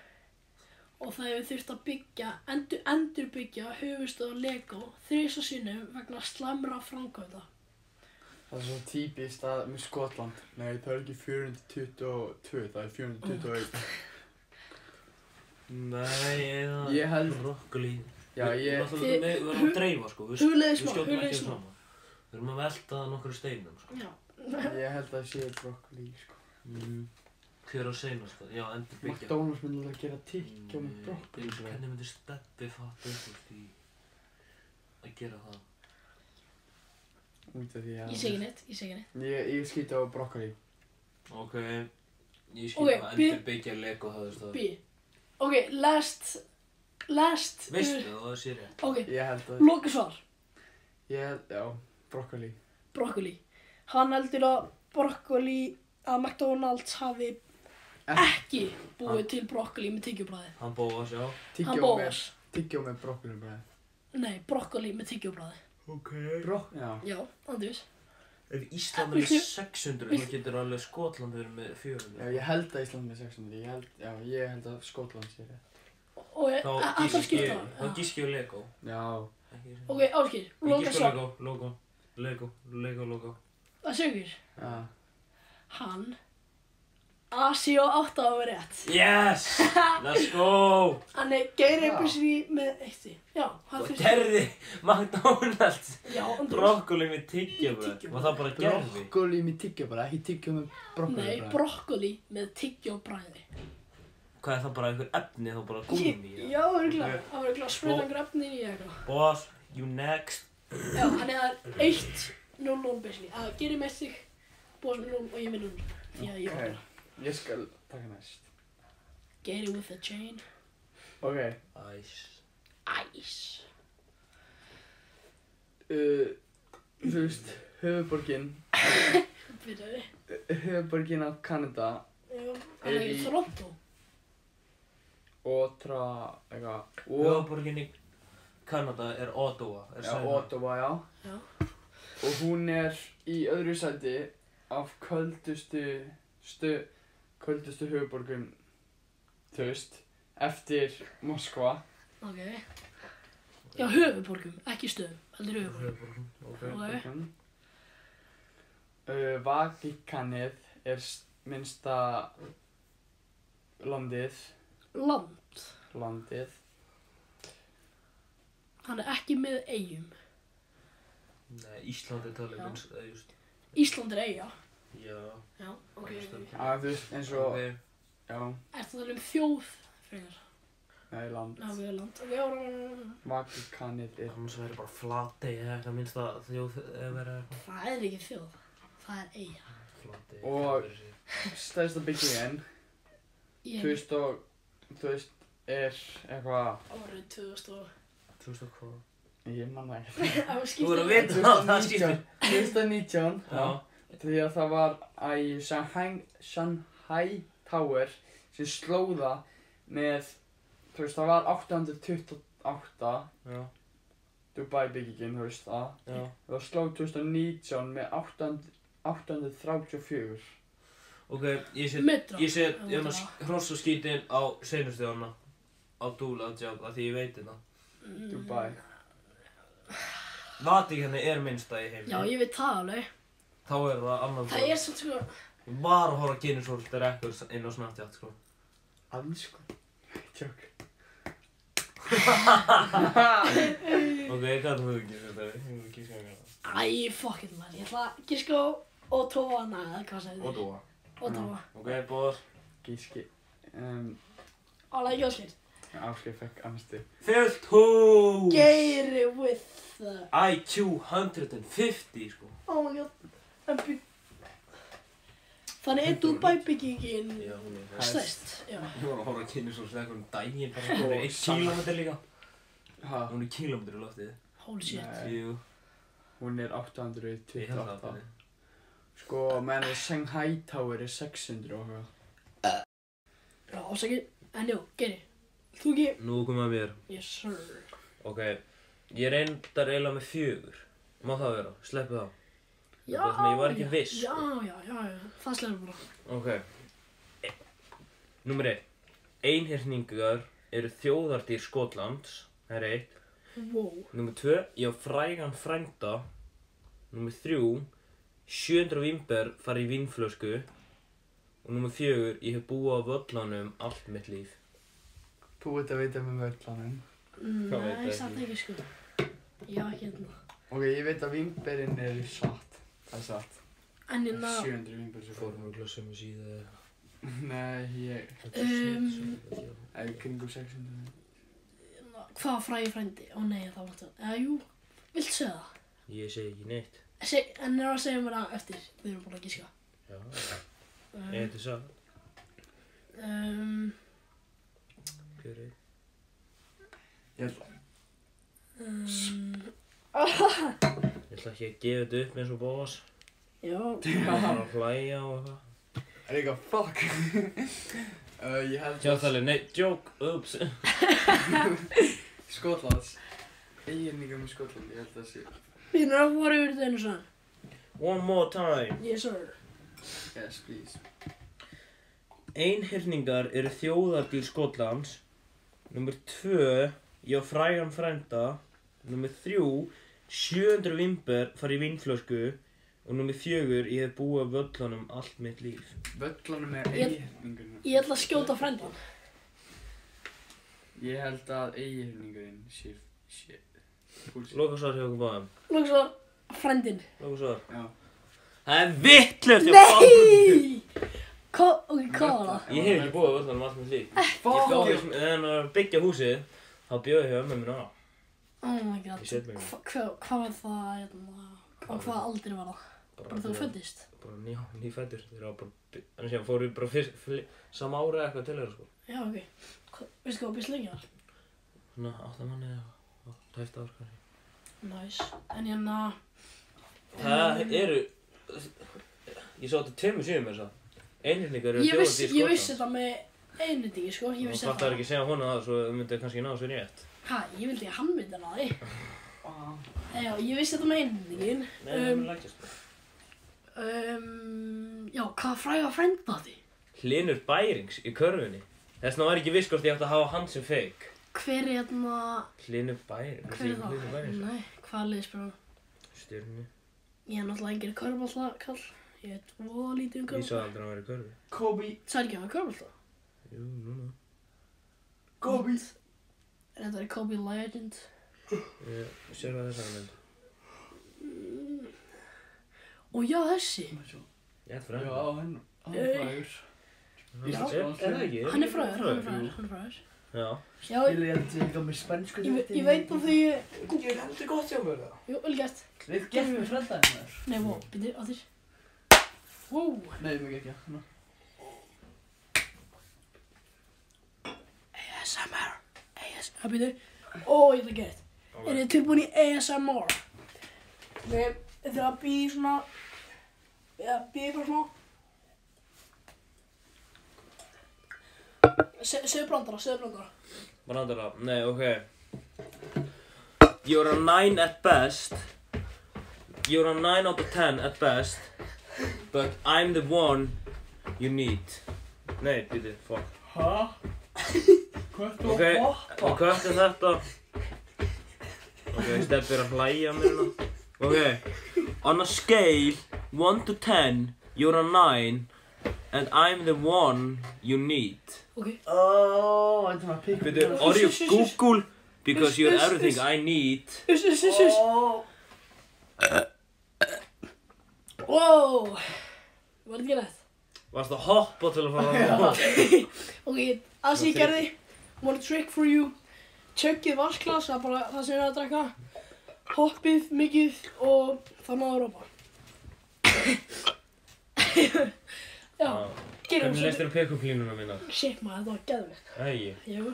D: og það hefur þurft að byggja, endur, endurbyggja höfustöðar Lego þrjus og sinnum vegna slamra framkvæmda.
C: Það er svo típist að með Skotland. Nei, það er ekki 422, það er 421.
E: Nei, eða
C: Ég held-
E: Brokkoli
C: Já, ég...
E: Við erum alltaf- við erum að dreifa, sko Við
D: Hugleiði
E: við
D: smá,
E: skjótum
D: hugleiði
E: ekki
D: smá.
E: saman Við erum að velta nokkru steinum, sko
D: Já,
C: Ég held að það sé brokkoli sko.
E: Hver á seinast það? Já, endur byggja
C: McDonalds myndi alveg gera tikkja með brokkoli. sko.
E: Hvernig myndir Steppi fatta upp úr því að gera það?
C: Út af því að...
D: ég segi neitt, ég segi neitt.
C: Ég, ég skýti á brokkoli.
E: Ok, ég skil
D: Ok,
E: að
D: bi-
E: endur byggja Lego það þess að
D: B. Ok, last, last, uh,
E: Veistu það, það sé rétt
D: ok,
C: Ég held að,
D: loka svar,
C: ég held, já, brokkoli.
D: brokkoli. Hann heldur að brokkoli, að McDonalds hafi ekki búið til brokkoli með tyggjóbræði.
E: Hann bóða sjá
D: Hann
C: Tyggjó með,
D: bóðar.
C: tyggjó með brokkoli bara.
D: Nei, brokkoli með tyggjóbræði.
E: Ok
C: Brokk, já.
D: Já, andjus.
E: Ef Ísland er með
D: Viltu-
E: 600 þá getur alveg Skotland verið með 400
C: Já, ég held að Ísland með 600, ég held, já, ég held að Skotland sé rétt.
D: Og
E: Þá
D: alltaf
E: gísk
D: skipta
E: ég, þá
D: það.
E: gísk ég á Lego
C: Já,
E: Ekki sem-
D: Ok, Ásgeir,
E: Ég
D: loka
E: gísk á
D: svar.
E: Lego, Lego, Lego, Lego, Lego
D: Það sögur.
C: já.
D: Hann, Asi og átta að vera rétt.
E: Yes! Let's go!
D: Hann er Geir
C: Já.
D: Eibusví með eitti. Já, hann
E: Og
D: fyrst.
E: gerði McDonalds
D: Já, andjus.
E: Brokkoli með tyggjabröð
D: Tyggjóbröð.
E: Var það bara gerði?
C: Brokkoli með tyggjó bara, ekki tyggjó með brokkoli
D: Nei,
C: bara.
D: brokkoli með tyggjóbræði.
E: Hvað er það bara einhver efni þá bara gúmi?
D: Ég- Já, örgulega. Það var örgulega að spreita grefnin í eitthvað.
E: Boss, you next
D: Já, hann er eitt 0-0 basically. Það gerir með sig, búið sem 0 og ég með 0. Já, ég var bara.
C: ég skal taka næst.
D: Get it with a chain.
C: Ok,
E: Æs
D: Ice.
C: uh, þú veist, höfuborgin,
D: Fyrir þau.
C: höfuborgin á Kanada
D: Hann er í
C: Elí-
D: Toronto.
C: og tra, eitthvað, og,
E: Höfuborgin í Kanada er Ottawa er
C: já,
E: Sæna.
C: Ottawa, já.
D: Já.
C: Og hún er í öðru sæti af köldustu, stu, köldustu höfuborgum, þú veist, eftir Moskva.
D: Ok. Já, höfuborgum, ekki stöðum. Heldur höfuborgum.
E: Höfuborgin, ok
D: Ok.
C: Höfuborgin. Uh, Vatikanið er s- minnsta landið,
D: Land.
C: landið.
D: Hann er ekki með eigum.
E: Nei, Ísland er talið
D: Já.
E: minnst eða just
D: Ísland er eiga.
E: Já
D: Já, ok.
E: Ísland.
C: Já, Ah, þú veist, eins og,
E: Ok,
C: já,
D: Er það talað um þjóð? Fyrir.
C: nei, land.
D: Já, við erum land. Ok, já, já, já, já.
C: Vatikanið er,
E: Annars verður bara flatei eða eitthvað minnst að þjóð eða verður eitthvað
D: Það er ekki þjóð. Það er eiga.
E: flatei
C: Og- stæðsta byggingin,
D: Ég
C: þú veist, og, þú veist, er eitthvað,
D: árið 2000 og...
E: Þú veist hvað
C: ég man það ekki.
D: Það var
E: Þú
D: skipt
E: verður að vita það, það skiptir
C: 2019, 2019,
E: Já
C: já. Því að það var að í Shanghai, Shanghai Tower sem slóða með, þú veist, það var 828
E: Já
C: Dubai byggingin, þú veist það.
E: Já
C: Það slóð 2019 með 800 834.
E: Ok, ég set
D: Metra.
E: Ég set
D: Já,
E: hérna
D: þetta var-
E: hrossaskítin á seinustjóðana á dúla að djáka því ég veit þetta
D: Mm.
E: Mm.
C: Dubai.
E: Vatíkanni er minnsta í heim
D: Já, ég veit það alveg.
E: Þá er það annan
D: Það er svona sko...
E: Ég var að horfa að kynna svolítið rekkur inn á Snapchat, sko.
C: Ansku. Tjók.
E: Ok, ég gæti þú ekki þetta, ég þú ekki skjáði hérna.
D: Æ, fucking man. Ég ætla að gíska á Ottawana eða hvað segir þið?
E: Ottawa.
D: Ottawa.
E: Ok, bóðar.
C: Gíski. Um,
D: Alla ekki áskilt.
C: Áskei fekk annastu.
E: Fyllt hús!
D: Geiri with the...
E: IQ 150, sko.
D: Oh my god. En bygg... Þannig er Dubai byggingin
E: Já, hún er það.
D: stæst. Já.
E: Ég var að horfa að kynna svolítið rekkur um daginn, bara sko. Hún
C: Og
E: er 1
C: saman.
E: kílómetri líka.
C: Ha,
E: Hún er kílómetri í loftið.
D: Holy shit.
C: Nei.
E: Jú,
C: hún er
E: ég held það
C: 828.
E: bara.
C: Sko, menn, Shanghai Tower er 600 og hvað.
D: Já, ásakið. En jú, Geiri. Þú ekki...
E: Nú komum að mér.
D: Yes, sir.
E: Ok, ég reyndar eiginlega með fjögur. Má það vera? Sleppu það.
D: Já,
E: bara svona, ég var ekki
D: já,
E: viss,
D: Já,
E: sko.
D: já, já, já. Það slegur bara.
E: Ok. E- Númer 1. Einhyrningar eru þjóðardýr Skotlands. Það er eitt.
D: Wow.
E: Númer 2. Ég á frægan frænda. Númer 3. 700 vimber fara í vínflösku. Og númer 4. Ég hef búið á völlanum allt mitt líf.
C: Þú ert að veita með völlanum.
E: Hvað veit
D: Nei,
E: ég
D: samt ekki sko. Já, ekki hérna.
C: Ok, ég veit að vimberinn er satt. Það er satt.
D: En hérna,
C: 700 vimber sem fórum.
E: úr glössum í síðu.
C: Nei, ég
D: Um.
C: er kringum 600.
D: hérna, hvað fræði frændi? Ó nei, það var þetta. Eða jú, viltu segja það?
E: Ég segi ekki neitt.
D: Seg, en er að segja mér það eftir, við erum búin að gíska.
E: Já.
D: Ok, Um,
E: Ég heiti Sara.
D: um,
E: Hver er?
C: Ég ætla
D: um,
E: Ég ætla ekki að gefa þetta upp eins og bóðas.
D: já,
E: Ég er bara að hlæja og eitthvað.
C: Er ég eitthvað fuck? uh, ég held
E: Tjóðþali, nei, joke, oops.
C: Skotlands Eiginninga með Skotland, ég held að sé
D: við erum að fara yfir þetta einu sann.
E: One more time.
D: Yes sir.
C: Yes, please
E: Einhyrningar eru þjóðardýr Skotlands. Nummer tvö, ég á frægan frænda. Nummer þrjú, 700 vimber fara í vinflösku. Og nummer fjögur, ég hef búið á völlunum allt mitt líf.
C: Völlunum er
D: Ég-
C: eiginningunum
D: Ég ætla að skjóta frændan.
C: Ég held að eiginningun sé sé Púlsi
E: Lókasvar hjá okkur báðum.
D: Lóks var frændin.
E: Lókasvar.
C: Já
E: Það er vittlust hjá báðum.
D: Nei! Hva, ok, hvað var það?
E: Ég hef ekki búið á völlunum allt mitt líf. Ég bjóði
C: Fuck
E: sem, þegar hann var að byggja húsið, þá bjóði ég hjá ömmu minna á.
D: Oh my god.
E: Ég set mig.
D: Hva- Hvað hvað var það, hérna, á hvaða aldri var það? Bara þú föddist?
E: bara ný, ný fættur þeir hafa bara en síðan fóru bara fyrst fli, sama ára eitthvað til þeirra sko
D: Já, ok. Hva- Veistu hvað býst lengi var?
E: svona átta manni eða tæft ára kannski
D: Næs. En hérna,
E: það eru ég sá þetta tveimur síðum með þess að einhjörningar eru
D: ég
E: þjóðandi
D: vissi, ég vissi þetta með einu digi, sko. Ég vissi
E: það það
D: þetta.
E: er ekki að segja honum það svo þau myndi kannski ná þessu rétt
D: Hæ, ég vildi ekki að hann myndi hana því.
C: Ah.
D: Já, ég vissi þetta með einu digin.
E: nei það sko.
D: Um.
E: er lækjast
D: Um, já, hvað fræga frænda átti?
E: Hlinur Bærings í körfunni þess vegna var ég ekki viss hvort ég átti að hafa hann sem feik
D: Hver er hérna,
E: Hlinur Bærings
D: hver er
E: Hlinur
D: það?
E: Bærings
D: Nei, hvað liðið spyrir hann?
E: stjörnu
D: Ég er náttúrulega enginn körbáltakall. Ég veit voða lítið um
E: ég sá
D: körbálta.
E: aldrei að hann væri í körfu
C: Kobe
D: Það er ekki að hafa körbálta.
E: jú núna
C: Kobe
D: Þetta er Kobe Legend.
E: ég sér hvað þess að hann
D: Og já, þessi.
E: ég ætti
C: Já,
E: fyrir hann
C: hann hann er
D: Hey.
C: frægur
E: Já, er, er það ekki?
D: Hann er fræður, hann er fræður,
E: jú.
D: hann er fræður.
E: Já.
D: Já,
C: Ég held að ég eitthvað með spænsku
D: ég, ve- ég veit að því...
C: Ég er heldur gott hjá mér það
D: Jú, vel gert.
C: Við gerum við frænda hennar
D: Nei, wow, byrju, á þér. Wow.
C: Nei, mig ekki hana.
D: ASMR. ASMR, byrju. Ó, ég ætla að gera þetta. Er þið tilbúin í ASMR? Nei, þið að býði svona... Já, býði bara svona... Se- Segðu brandara, segðu brandara.
E: Brandara, nei, ok. You're a 9 at best. You're a 9 out of 10 at best. But I'm the one you need. Nei, býti, fuck.
C: Hæ? Hvað ertu
E: Ok, og hvað er þetta? Ok, Steppi er að hlæja mér nú. Ok, on a scale 1 to 10, you're a 9 and I'm the one you need.
D: Ok.
C: Ó, þetta var pikk
E: Byrju, are you Google? Because you're
D: Uss, uss,
E: everything
D: uss.
E: I need.
D: Uss, uss, uss, uss.
C: Ó
D: Wow. Var þetta gæðið?
E: Varst að hoppa til að fara að hoppa?
D: Ok, það sem ég gerði. One trick for you. Tjöggið vasklas, það er bara það sem ég er að drekka. Hoppið mikið og það náður ropa. Já, gerum
E: Ah, Hvernig leist þér að pick-up línuna mína?
D: Shit maður, þetta var geðvegt.
E: Ægi.
D: Jú,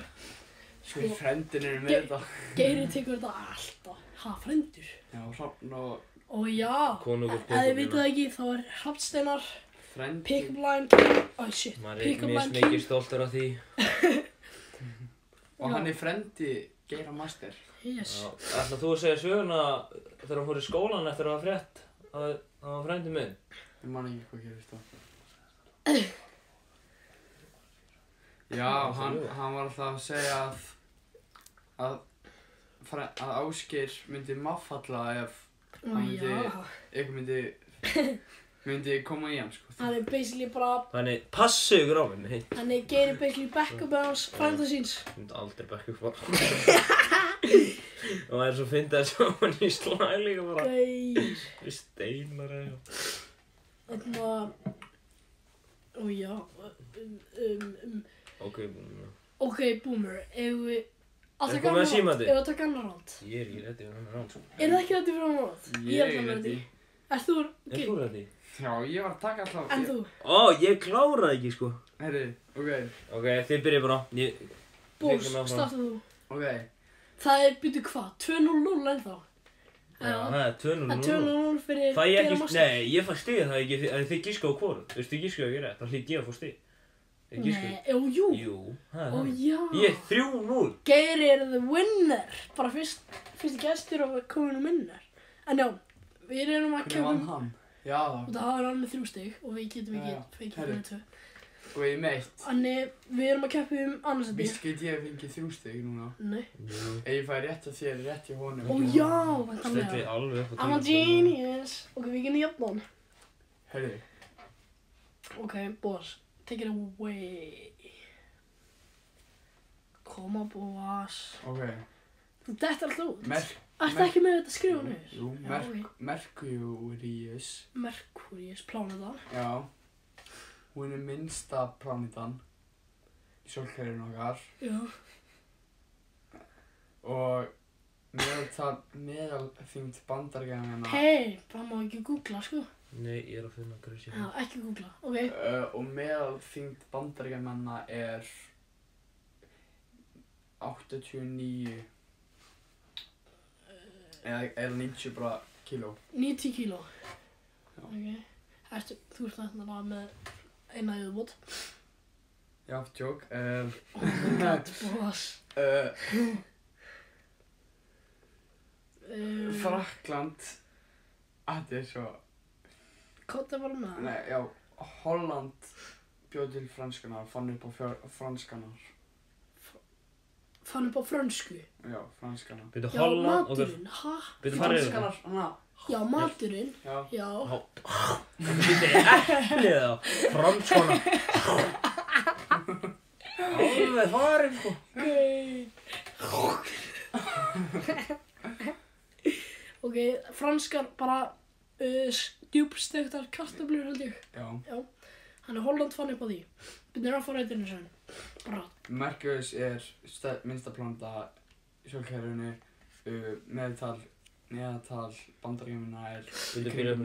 C: Sko, frendin eru með
D: Ge-
C: þetta
D: Geiri tekur þetta alltaf. Ha, frendur.
C: Já, Hrafn og
D: Og já,
E: Konungur
D: ef þið
E: pick-up
D: vitið
E: línuna.
D: það ekki, þá er Hrafnsteinar,
C: frendin
D: Pick-up Line King, oh shit,
E: Maður er
D: Pick-up
E: mjög
D: Line
E: mikið
D: King.
E: stoltur af því.
C: Og hann er frendi Geira Master
D: Yes.
E: Ætla þú að segja söguna þegar hann fór í skólan eftir að hafa frétt að að hann var frændi minn?
C: Ég man ekki hvað gerist það Já, hann, hann var alltaf að segja að að, fre- að Ásgeir myndi maffalla ef
D: Og
C: Hann myndi-
D: já,
C: eitthvað myndi myndi koma í hann sko
D: hann er basically bara,
E: Þannig, passu ykkur á minni. Ég
D: hann er Geiri basically backup af hans frænda síns.
E: myndi aldrei back-up fara. Og maður er svo fyndið að sjá hann í slag líka bara.
D: Geir,
E: Við steinar eða. eitthvað.
D: þarna, og Hérna, já, um, um, um,
E: Ok, núna.
D: ok, boomer, ef við, að
E: Er
D: taka
E: komið að
D: annar
E: síma
D: rátt,
E: þig?
D: ef við að taka annar rátt.
E: ég er sko. ekki rétti fyrir hann rátt.
D: Er það ekki þetta fyrir annar rátt? Ég er alltaf með þetta.
C: í
D: Er þú,
E: Er
D: ok,
E: þú ready?
C: Já, ég var að taka alltaf
D: en þú,
E: Ó, ég kláraði ekki sko
C: Herri, ok,
E: Ok, þið byrjið bara Ég,
D: bós,
E: Líkum áfram.
D: startu þú.
C: ok
D: Það er, byrju hvað, 2-0-0 ennþá.
E: já, það er 2-0
D: Það er
E: núna.
D: 2-0 fyrir
E: Fæ ég
D: Geir
E: ekki,
D: Magnús.
E: nei, ég fæ stig það ekki, þið- en þið gíska á hvoru Þú veist, þið gíska á ég rétt, þá hlýtt ég að fá stig Þið gíska
D: Nei, jú, jú.
E: Jú, það er
D: Ó
E: það
D: já.
E: Ég er 3-0
D: Geiri er the winner. Bara fyrst, fyrst gestur og komin um winner. En já, við erum að
C: Hvernig vann
D: kemum.
C: hann? Já,
D: Og það er hann með þrjú stig og við getum
C: Já, já.
D: ekki fengið
C: Herri.
D: með tvö.
C: og ég meitt
D: Þannig, við erum að keppa um annarsæti.
C: Víst get ég að fengi þrjú stig núna
D: Nei.
E: Jú,
C: Ef ég fæ rétt hjá þér, rétt hjá honum
D: Ó já,
E: stendið
D: væntanlega.
E: alveg upp á
D: I'm a
E: tímabil.
D: genius. Ok, við getum jafn hann.
C: Herri,
D: Ok, Boas, take it away. Koma, Boas.
C: ok
D: Þú dætt alltaf út.
C: Merk,
D: Ertu
C: merk-
D: ekki með þetta skrifa
C: jú,
D: niður?
C: jú,
D: Já,
C: merk, Merkurius
D: Merkúrius, pláneta.
C: Já Hún er minnsta planetan Í sólkerfinu okkar
D: Já.
C: Og meðal, meðal þingt bandargæðina
D: Hei, það má ekki googla, sko.
E: Nei, ég er að finna græs
D: Já,
E: hérna
D: ekki googla, ok.
C: Uh, og meðal þyngd bandaríkjamanna er 89 eða er 90 bara kíló
D: 90 kíló.
C: Já.
D: Ok. Ertu, þú ert þarna með eina yfirbót.
C: já, tjók uh,
D: Oh my god, Boas.
C: uh,
D: Um,
C: Frakland ah, þetta er svo
D: Kota bara með það.
C: nei, já, Holland bjóð til franskunar fann upp á fjör- franskunar
D: Fann upp á frönsku.
C: já, franskunar
E: Byrju,
D: Já,
E: Holland og
D: maturinn, hæ?
E: Byrju, farið yfir það
C: hana
D: Já, maturinn,
C: já,
D: já.
E: Byrju, eplið á Franskona Alveg farin sko
D: Gay. ok, franskar bara uh, djúbstektar kartöflur held ég.
C: já
D: Hann er Holland fann upp á því. Byrnir að fara eitthvað sem. Bara,
C: Merkurius er stær, minnsta planta í sjálfkærinu uh, meðtal, neðatal bandaríkjumina er
E: Byrju, byrju,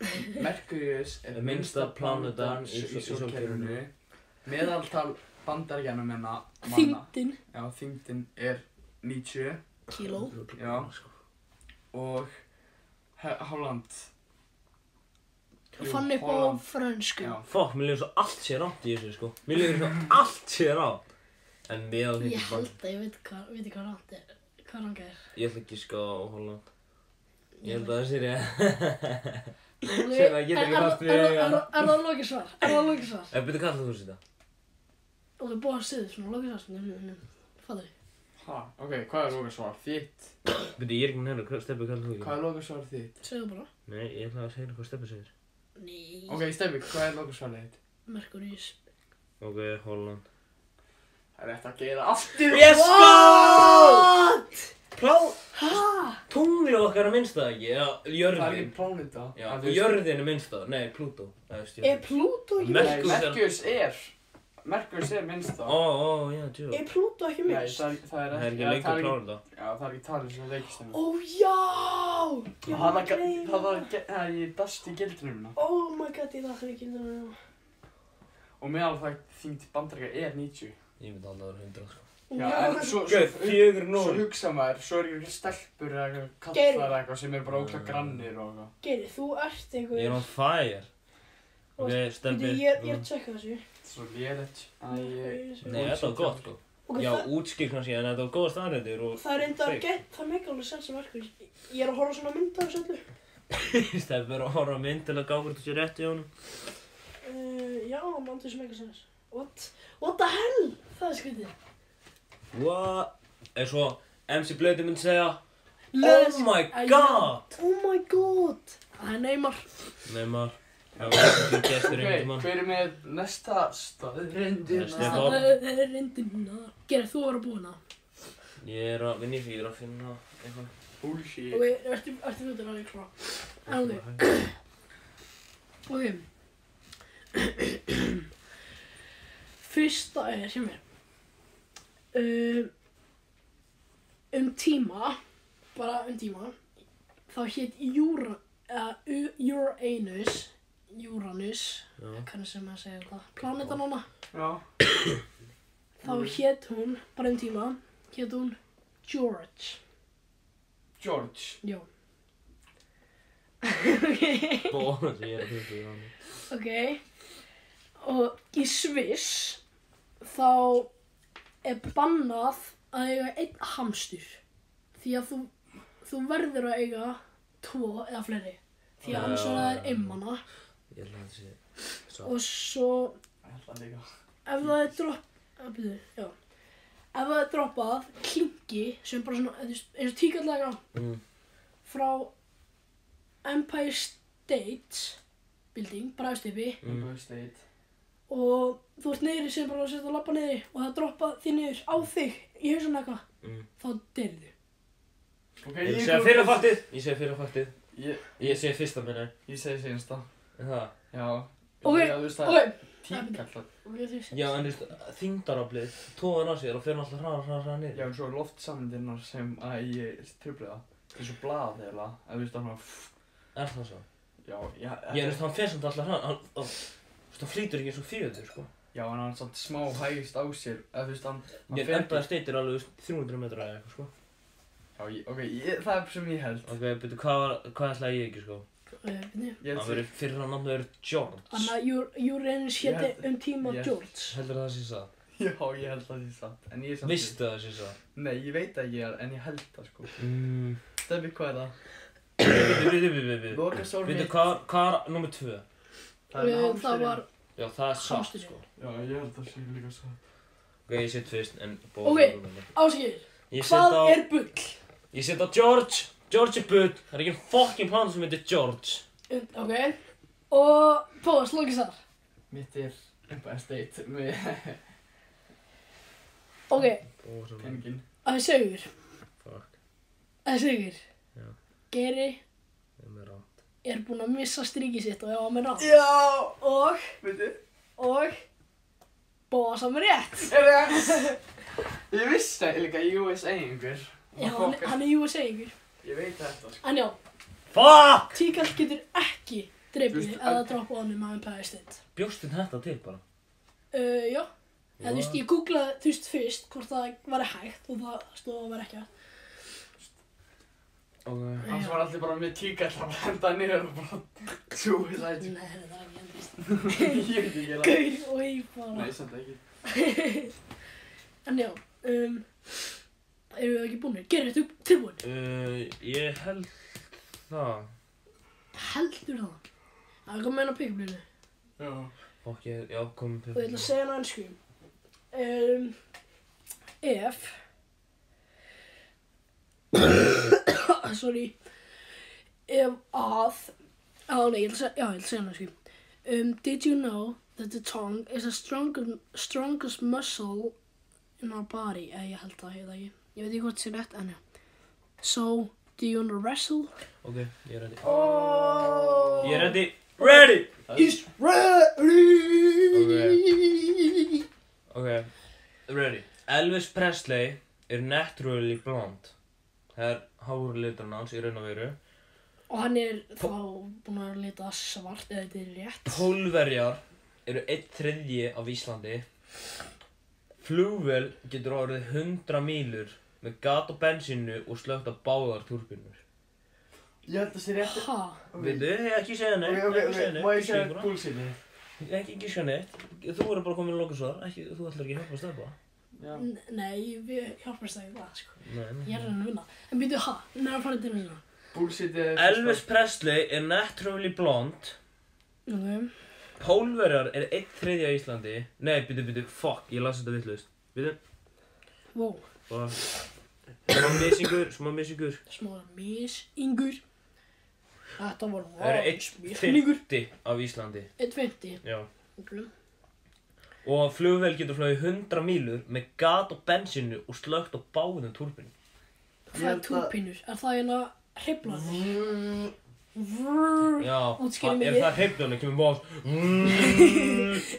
E: byrju
C: Merkurius er
E: Er minnsta plánetan í
C: í
E: sól- í
C: sjálfkærinu
E: sólkerfinu.
C: meðaltal bandaríkjumina manna
D: þyngdin,
C: já, þyngdin er 90
D: kíló.
C: Já. og He- Holland Jú,
D: Fann upp á
C: Holland.
D: frönsku.
C: já,
E: Fokk, mér líður svo allt sé rátt í þessu sko Mér líður svo allt sé rátt En mér á því
D: Ég held að ég veit hvað, veit hvað rátt er. Hvað ranga er.
E: Ég ætla ekki sko á Holland Ég held að það sé rétt
D: Sem
E: Sem það getur ekki fast við
D: Er
E: eiga.
D: er- er það lokið svar? Er það lokið svar?
E: En byrju, hvað ætlar Eh, þú að setja?
D: Og það er búið að segja svona lokið svar. Fattu?
C: ha, ok, hvað er lokasvar þitt?
E: Byrju, ég er ekki með hérna, hvað- Stebbi, hvað ætlar þú að
C: hvað er lokasvar þitt?
D: Segðu bara.
E: setja? Nei, ég ætla að segja hvað Stebbi segir
D: Nei.
C: ok, Steffi, hvað er lokasvar þitt?
D: Merkurís.
E: Ok, Holland
C: það er rétt að gera aftur
E: Yes, go! Plá,
D: Hæ?
E: tunglið okkar er minnst það ekki, já,
C: það er
E: jörðin
C: ekki pláneta
E: Já,
C: Það
E: og
C: er-
E: jörðin er minnst það, nei, Plútó Það er
D: Er
E: stjörn
D: Plútó ekki
E: Merk-
C: Nei,
D: með?
E: Merkúr-
C: Merkurs er Merkurs er minnst
E: Ó,
C: það
E: ó, já, tjú
D: Er Plútó ekki
C: Nei,
D: með?
C: það er, það er
E: Það er
C: ekki
E: ekki
C: já, það
E: lengur
C: er
E: plánin það
C: Já, það er ekki talið sem leikist
D: Ó já!
C: Það
D: Ég var
C: er
D: að gleyma.
C: það er ge- það er ég dast í hérna. gildrumina
D: Oh my god, ég þakka ekki það nú.
C: Og meðal það þýngt bandaríka er 90
E: Ég myndi alltaf að vera 100 sko
C: Já, en
D: Já.
C: svo,
E: Gauð,
C: svo,
E: fjögur
C: svo
E: núl
C: hugsa maður, svo eru ekki stelpur eða eitthvað
D: Geir.
C: kallar eða eitthvað sem er bara ókla grannir og eitthvað
D: Geri, þú ert
E: Ég er
D: einhver.
E: on fire
D: Og-
E: Ok,
D: Bíddu,
E: stemmi
D: Ég er ég er að tjekka þessu.
C: Svo lérið Æ, ég
E: Nei, þetta var gott sko
D: Ok,
E: Já,
D: það-
E: útskil kannski, en þetta var góða staðrættur og
D: Það er enda að gett, það er mega alveg sens að verka. Ég er að horfa á svona mynd af þessu öllu.
E: Steffi er að horfa á mynd til að gá hvort þú sé rétt í honum
D: Uh, já, mann þessu mega sens. What? What the hell? Það er skrítið.
E: What? En svo, MC Blöti myndi segja
D: Let's-
E: Oh my
D: I
E: god
D: Oh my god. Það er neymar.
E: Nei maður Það var ekki gestur einhvern
C: Ok,
E: mann
C: hver er með næsta staðrindina?
E: Næsta
D: Það
E: Stefán.
D: það er reyndina. Geri, þú var að búa hérna. hana.
E: Ég er að, vinn ég fyrir að finna eitthvað
C: Bullshit
D: Ok, ertu ertu fljótur að ég klá? En ok, ok. Fyrsta er, sem er, um, um tíma, bara um tíma, þá hétt Júra, uh, U- Uranus Uranus
E: Já.
D: hvernig sem maður segir þetta planetan hana
C: Já. Mm.
D: þá hét hún bara um tíma hét hún George
C: George.
D: já ok
E: Bónus, ég er að hlusta í hann.
D: Ok, og í Sviss þá er bannað að eiga einn hamstur því að þú, þú verður að eiga tvo eða fleiri því
E: Já,
D: að annars er
E: já,
D: það
E: já.
D: einmana
E: Ég held að það sé
D: og svo
C: Ég held það líka.
D: ef það er dropp að byrju, já ef það er droppað klingi sem bara svona þú veist, eins og tíkallega
E: Mm.
D: frá Empire State Building, bara auðstipi
E: Mm.
C: Empire State.
D: og þú ert neyri sem bara sérst að lappa neyri og það droppa þig niður á þig í hausan eitthvað,
E: Mm.
D: þá deyrðu.
C: Ok,
E: Ég segi fyrir faktið. Ég segi fyrir faktið.
C: Ég,
E: Ég segi fyrsta minni.
C: ég segi segjast það.
E: Það.
C: Já.
D: Ok,
C: Já, þú veist það
D: Ok,
C: tíkallar.
D: ok, þú veist
E: Já, en þú veist, þingdaraflið, tóðan á sér og fyrir alltaf hraðar, hraðar, hraðar
C: Já,
E: niður.
C: en svo er loftsamlindirnar sem að ég trubli það. Það er svo blað eða, eða þú veist það svona, pff,
E: Er það svo?
C: já, já,
E: Já, en þú veist, hann fyrir samt alltaf hraðar, hann, ó, þú veist, hann flýtur ekki eins og fjöður, sko.
C: já, en hann er samt smá hægist á sér, eða þú veist hann, hann
E: Ég
C: fer
E: endaði
C: ekki-
E: steytir alveg, þú veist, 300 metra eða eitthvað, sko.
C: Já, ég, ok, ég, það er sem ég held.
E: Ok, betur, hvað var, hvað ætlaði ég ekki, sko?
D: það.
C: Ég
E: Hann
C: held
E: verið fyrir hann að verið George.
D: Þannig að Ur- Uranus
C: Ég
D: héti
C: held-
D: um tíma
C: ég-
D: George.
E: Heldur það sé það?
C: Já, ég held það sé satt, en ég er samt
E: Vistu það sé það?
C: Nei, ég veit ekki, en ég held það sko
E: Mm.
C: Steffi, hvað er það?
E: Bíddu, bíddu, bíddu, bíddu.
C: Loka sól
E: Bíddu, hvað var- hvað var nummer tvö?
C: Það er
D: Eh,
C: hamsturinn
D: það var,
E: Já, það er satt,
D: Hamsturinn.
E: sko.
C: Já, ég held það sé líka satt
E: Ok, ég set fyrst, en bóð
D: Ok. áskil,
E: Ég set
D: hvað
E: á,
D: er bull?
E: ég set á George. George er bull. Það er ekki en fokkin plan sem heitir George.
D: Um, Ok, og Póðas, lókis þar.
C: Mitt er Empire State með
D: Ok,
C: peningin
D: það er sögur,
E: Fuck,
D: það er sögur.
E: Já.
D: Geri
E: ég er með rátt.
D: er búinn að missa strikið sitt og ég var með rátt.
C: Já,
D: Og,
C: veitu
D: og, Bóðas var með rétt.
C: Er það? Ég vissi það líka USA einhver
D: Já, hann, hann er USA yngur.
C: Ég veit þetta sko
D: En já,
E: Fuck!
D: Tíkall getur ekki dreipið
C: Þú veist,
D: eða
C: en-
D: droppa honum á Empire State.
E: Bjóst þinn þetta til bara?
D: Uh, já, eða þú veist, ég googlaði þú veist fyrst hvort það var hægt og það stóð að vera ekki hægt.
E: Ok.
C: Hans var allir bara með tíkall að henda niður og bara Tjúi það
D: Nei, heyrðu, það er ekki
C: Ég
D: hendist.
C: veit ekki að
D: Gaur og ég
C: Nei,
D: bara.
C: samt ekki
D: en já, um, eru við ekki búinir? Gerir þú tilbúin?
E: Uh, ég held það.
D: Heldur það? Það er komið inn á píkblinu
C: Já
E: Fuck, ég, já, komum til.
D: og ég ætla að segja hana ennsku. Um, ef, sorry, ef að, á nei, ég ætla að segja, já, ég ætla að segja hana ennsku. Um, did you know that the tongue is the strongest, strongest muscle in our body? Eh, ég held það, ég veit ekki. Ég veit ekki hvort sé rétt, en já. So, do you wanna wrestle?
E: Ok, ég er ready.
C: Oh.
E: Ég er ready. Ready!
D: He's ready!
E: Ok, ready. Elvis Presley er naturally blond. Það er hárur liturinn hans í raun og veru.
D: Og hann er þá búinn að lita svart eða þetta er rétt.
E: Pólverjar eru einn þriðji af Íslandi. Flugvel getur orðið 100 mílur með gat á bensínu og slögt á báðar turbinur.
C: Ég held það sé rétt
D: Ha?
E: Veitu, ég ekki segja
C: Ok,
E: neitt,
C: ok,
E: ekki segja
C: ok,
E: neitt,
C: má ég
E: ekki segja
C: segja
E: neitt,
C: búlsinni?
E: ekki, ekki segja neitt. Þú verður bara komin að loka svar, ekki, þú ætlar ekki að hjálpa að stöpa.
C: Já
D: N- Nei, við hjálpast það í það, sko.
E: Nei, nei.
D: Ég er að reyna að vinna. En býtu, ha? Nei, það farið til hérna.
C: Bullshit er
E: Elvis Presley er naturally blond.
D: Ok.
E: Pólverjar er einn þriðja á Íslandi Nei, byrju, byrju, fuck, ég las þetta vittlust Byrju,
D: Wow.
E: bara Smá misingur, smá misingur
D: Smáður misingur. Þetta var
E: Það eru einn
D: wow. Misingur.
E: Fimmti af Íslandi
D: 1.50.
E: Já
D: Ok.
E: Og flugvél getur flogið 100 mílur með gat á bensinu og slögt á báðum turbinu
D: Það er
C: held að-
D: túrpínur. Er það hérna hriflaði?
C: Elvis
D: Vrrrr.
E: Já,
D: Útskýrðu
E: það-
D: mér
E: ef
D: við.
E: það er hreifdjónu, kemur Mm. bós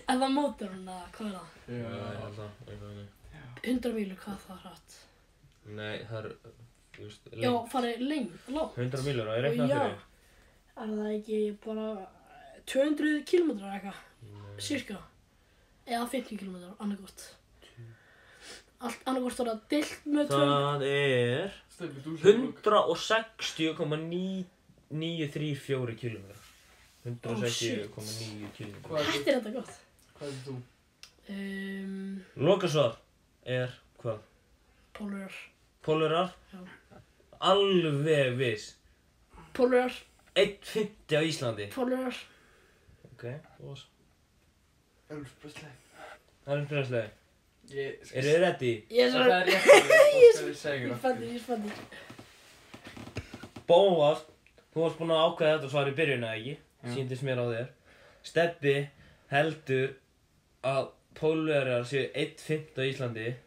D: En það mótur hann að, hvað er það?
C: Já.
D: 100 mílur, hvað er það hratt?
E: Nei, það er þú veist,
D: Já,
E: lengt.
D: farið lengt, lágt.
E: 100 mílur, það er eitthvað
D: Já.
E: fyrir
D: er það ekki bara 200 km eitthvað, cirka eða 50 km, annarkort allt annarkort var það deilt með 200
E: Það er
C: Steffi, þú
E: 160,934 km 160,9 km
C: Hvað
D: Þetta
C: er
D: er þetta gott
C: hvað er þú?
D: um,
C: Ehm,
E: Lokasvar er hvað?
D: Pólurar
E: Pólurar?
D: Já.
E: Alveg viss
D: Pólurar,
E: 1.50 á Íslandi
D: pólurar
E: Ok, bós
C: Ölf Brösleif
E: Það er umfyrirhanslega
C: Ég
E: Eru þið reddi?
D: Ég er
C: Það
D: svo
C: er rétt að það skal ég segja
D: Ég
C: ykkur
D: fann
C: aftur.
D: því, ég fann því
E: Bóas, þú varst búinn að ákveða þetta svar í byrjun eða ekki?
C: Já.
E: Sýndist mér á þér Steppi heldur að pólverjar séu 1.50 á Íslandi að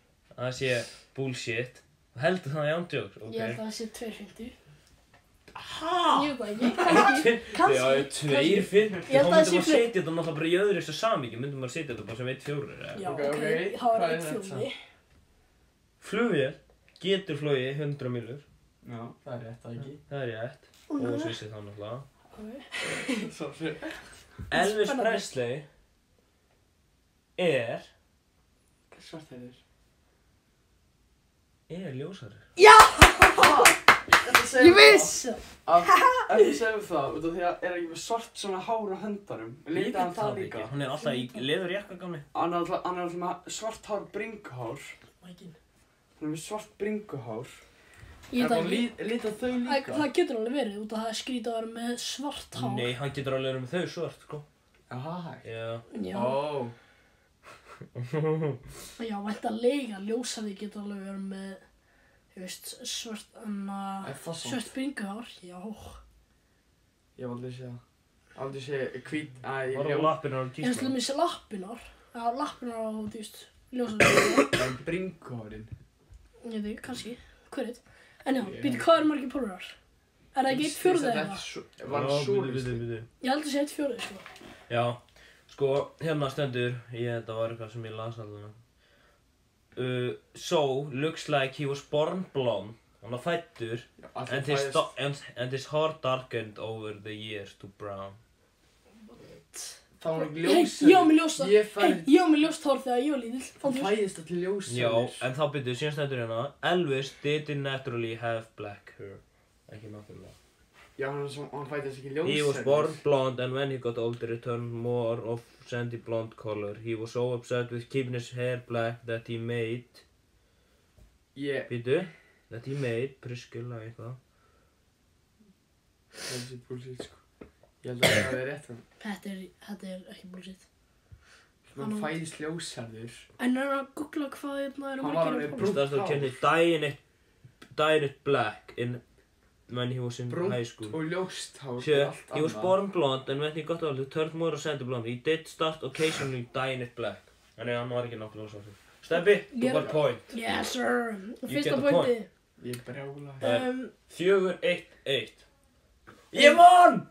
E: það sé bullshit og heldur það í ándjóks
D: Ég held að það sé 250
E: Hæ?
D: Ég veit það ekki, kannski kannski,
E: Já, tveir
D: kannski.
E: fyrir
D: Ég held
E: Þá
D: að það
E: myndum
D: sé
E: maður
D: fleiri.
E: setja þetta náttúrulega bara í öðru þessu samíki myndum maður setja þetta bara sem 1 fjórir eða
D: Já,
C: Ok,
D: ok,
C: ok,
D: það var
C: hvað er
D: einn
C: þetta?
D: fjóri
E: Flugvél getur flogið 100 milur
C: Já, það er rétt að ekki
E: Það er rétt Og
D: Ok,
E: svissi það náttúrulega
C: Sorry
E: Elvis
D: Spennandi.
E: Presley er
C: Svart heitir
E: er ljósari
D: Ég vissi það
C: Af, ef þú segir það, út af því að er ekki með svart svona hár á höndarum Lítið hann það líka
E: Hún er alltaf í leður jakka gamli
C: Hann er alltaf hann er alltaf með svart hár bringuhár
D: Mækin.
C: Hann er með svart bringuhár
D: Ég
C: Er
D: veit það
C: búin
D: ekki
C: að lítið þau
D: Það
C: líka
D: það getur alveg verið út af það er skrítið að vera með svart hár
E: Nei, hann getur alveg verið með þau svart sko
C: Æ
E: Já
D: Já,
C: Ó
D: já væntalega ljósari getur alveg verið með þú veist, svart anna,
C: Er það samt?
D: svart bringuhár Já,
C: Ég hef aldrei séð það Aldrei séð hvít Æ, ég
E: Var á
C: hef
E: lappinu á
D: ég ætlum
E: kísla
D: að missa lappinar Já, lappinar á, þú veist, ljósari
C: aldrei bringuhárin
D: Ég veit ekki, kannski, hverjit En já,
C: Ég-
D: býtu, hvað er margir pólurar? Er það ekki eitt fjórðið eða? eitthvað?
C: Var það svo listi
D: Ég held að sé eitt fjórðið, sko
E: Já Sko, hérna stendur Ég, þetta var eitthvað sem ég las allavega uh, So, looks like he was born blonde Hann var fættur and his, sto- and, and his hair darkened over the years to brown
C: Það var ekki
D: Hei,
C: ljósari
D: ég á mig ljóst hár
C: Ég
D: Hei,
C: fæði
D: ég á mig ljóst hár þegar ég var lítill
C: Hann
D: Fannst þú?
C: fæðist allir ljósari
E: Já, en þá byrjuðu síðan stendur hérna Elvis didn't naturally have black hair Ekki náttúrulega
C: Já, hann, er svo- hann fættist ekki ljósari
E: He was born blonde and when he got older it turned more of sandy blonde color. He was so upset with keeping his hair black that he made
C: Ég
E: Býtu? That he made Priscilla eitthvað
C: Það er sér bullshit sko Ég held að það er rétt hann
D: Þetta er, þetta er ekki bullshit
C: Hann
D: Hann-
C: fæðist ljósarður
D: En er að googla hvað hérna eru
C: Hann var
D: margir
C: alveg
D: að
C: brú-
D: koma?
E: Starst að kenni dying it dying it black in when he was in high
C: Brúnt
E: school
C: og ljóst hár
E: sko. Sjö,
C: og allt
E: he was
C: annað.
E: born blonde and when he got older turned more of sandy blonde. He did start occasionally dying it black Þannig að hann var ekki náttúrulega svo Steppi, you
D: Ég-
E: got point
D: Yes sir,
E: get
D: fyrsta
E: the
D: pointi
C: Ég brjála
E: Það er
D: um,
E: Fjögur, eitt, eitt Ég vann!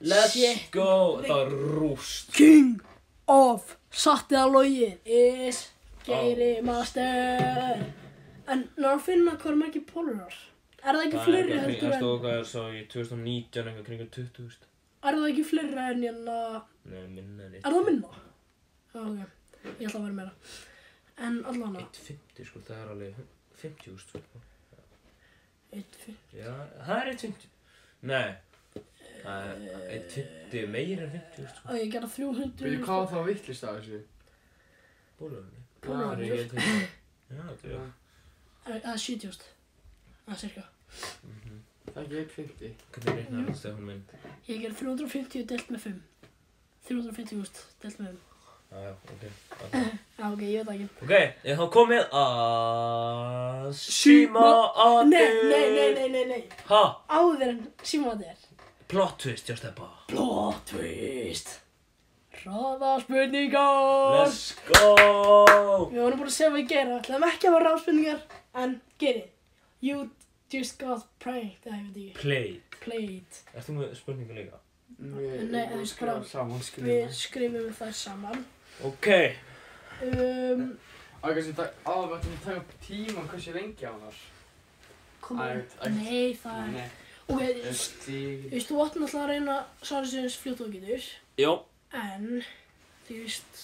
E: Let's
D: Shit.
E: go Það var rúst
D: King of Sattið að logið is Geiri Master En ná að finna hvað er margir pólurar Er það ekki fleiri heldur
E: Það
D: en
E: stóð hvað er svo í 2019 eitthvað kringu 20 veist.
D: Er það ekki fleiri en hérna
E: Nei, minna en eitt
D: Er það minna? Já ok, ég ætla að vera meira En allan að
E: 1.50 sko, það er alveg 50 veist, sko.
D: Eitt fyrir
E: Já, það er 1.50 Nei Það er 1.50 meira en 50 veist, sko.
D: Ég gera 300
C: Veitu hvað var þá vittlist af þessu?
E: Bólöfni Það er
D: Pólurar
E: ekki 1.50 Já, þetta er
D: Það er 70 Það er cirka
C: Það er ekki eitt fyndi
E: Hvernig reiknar það Stefán minn?
D: Ég ger 350 delt með 5 350 úst delt með 5
E: Já, já, ok Alltaf
D: Já, ok, ég veit það ekki
E: Ok, er þá komið að
D: Síma-
E: Síma aðeins
D: Nei, nei, nei, nei, nei, nei
E: Ha,
D: Áður en síma þetta er
E: plot twist, já steppa
D: Plot twist Ráða spurningar
E: Let's go
D: Við vorum búin að segja hvað ég gera ætlum ekki að vera ráða spurningar En geri You just got pranked Það hefði ekki
E: Play
D: Played
E: Ertu með spurningu líka?
C: Við
D: Nei, en
C: við
D: við
C: skrifum
D: bara-
C: saman skrifum
D: Við skrifum það saman
E: Ok
D: um,
C: Á, kannski það ávægt að taka upp tíma hversu lengi hann var
D: Kom
C: Æ,
D: on
C: æ.
D: Nei, það er
C: Nei,
D: Ok, þú veist, þú
C: Stíl.
D: veist, þú vatn alltaf að reyna að svara sér eins fljótt og þú getur.
E: Já,
D: En, þú veist,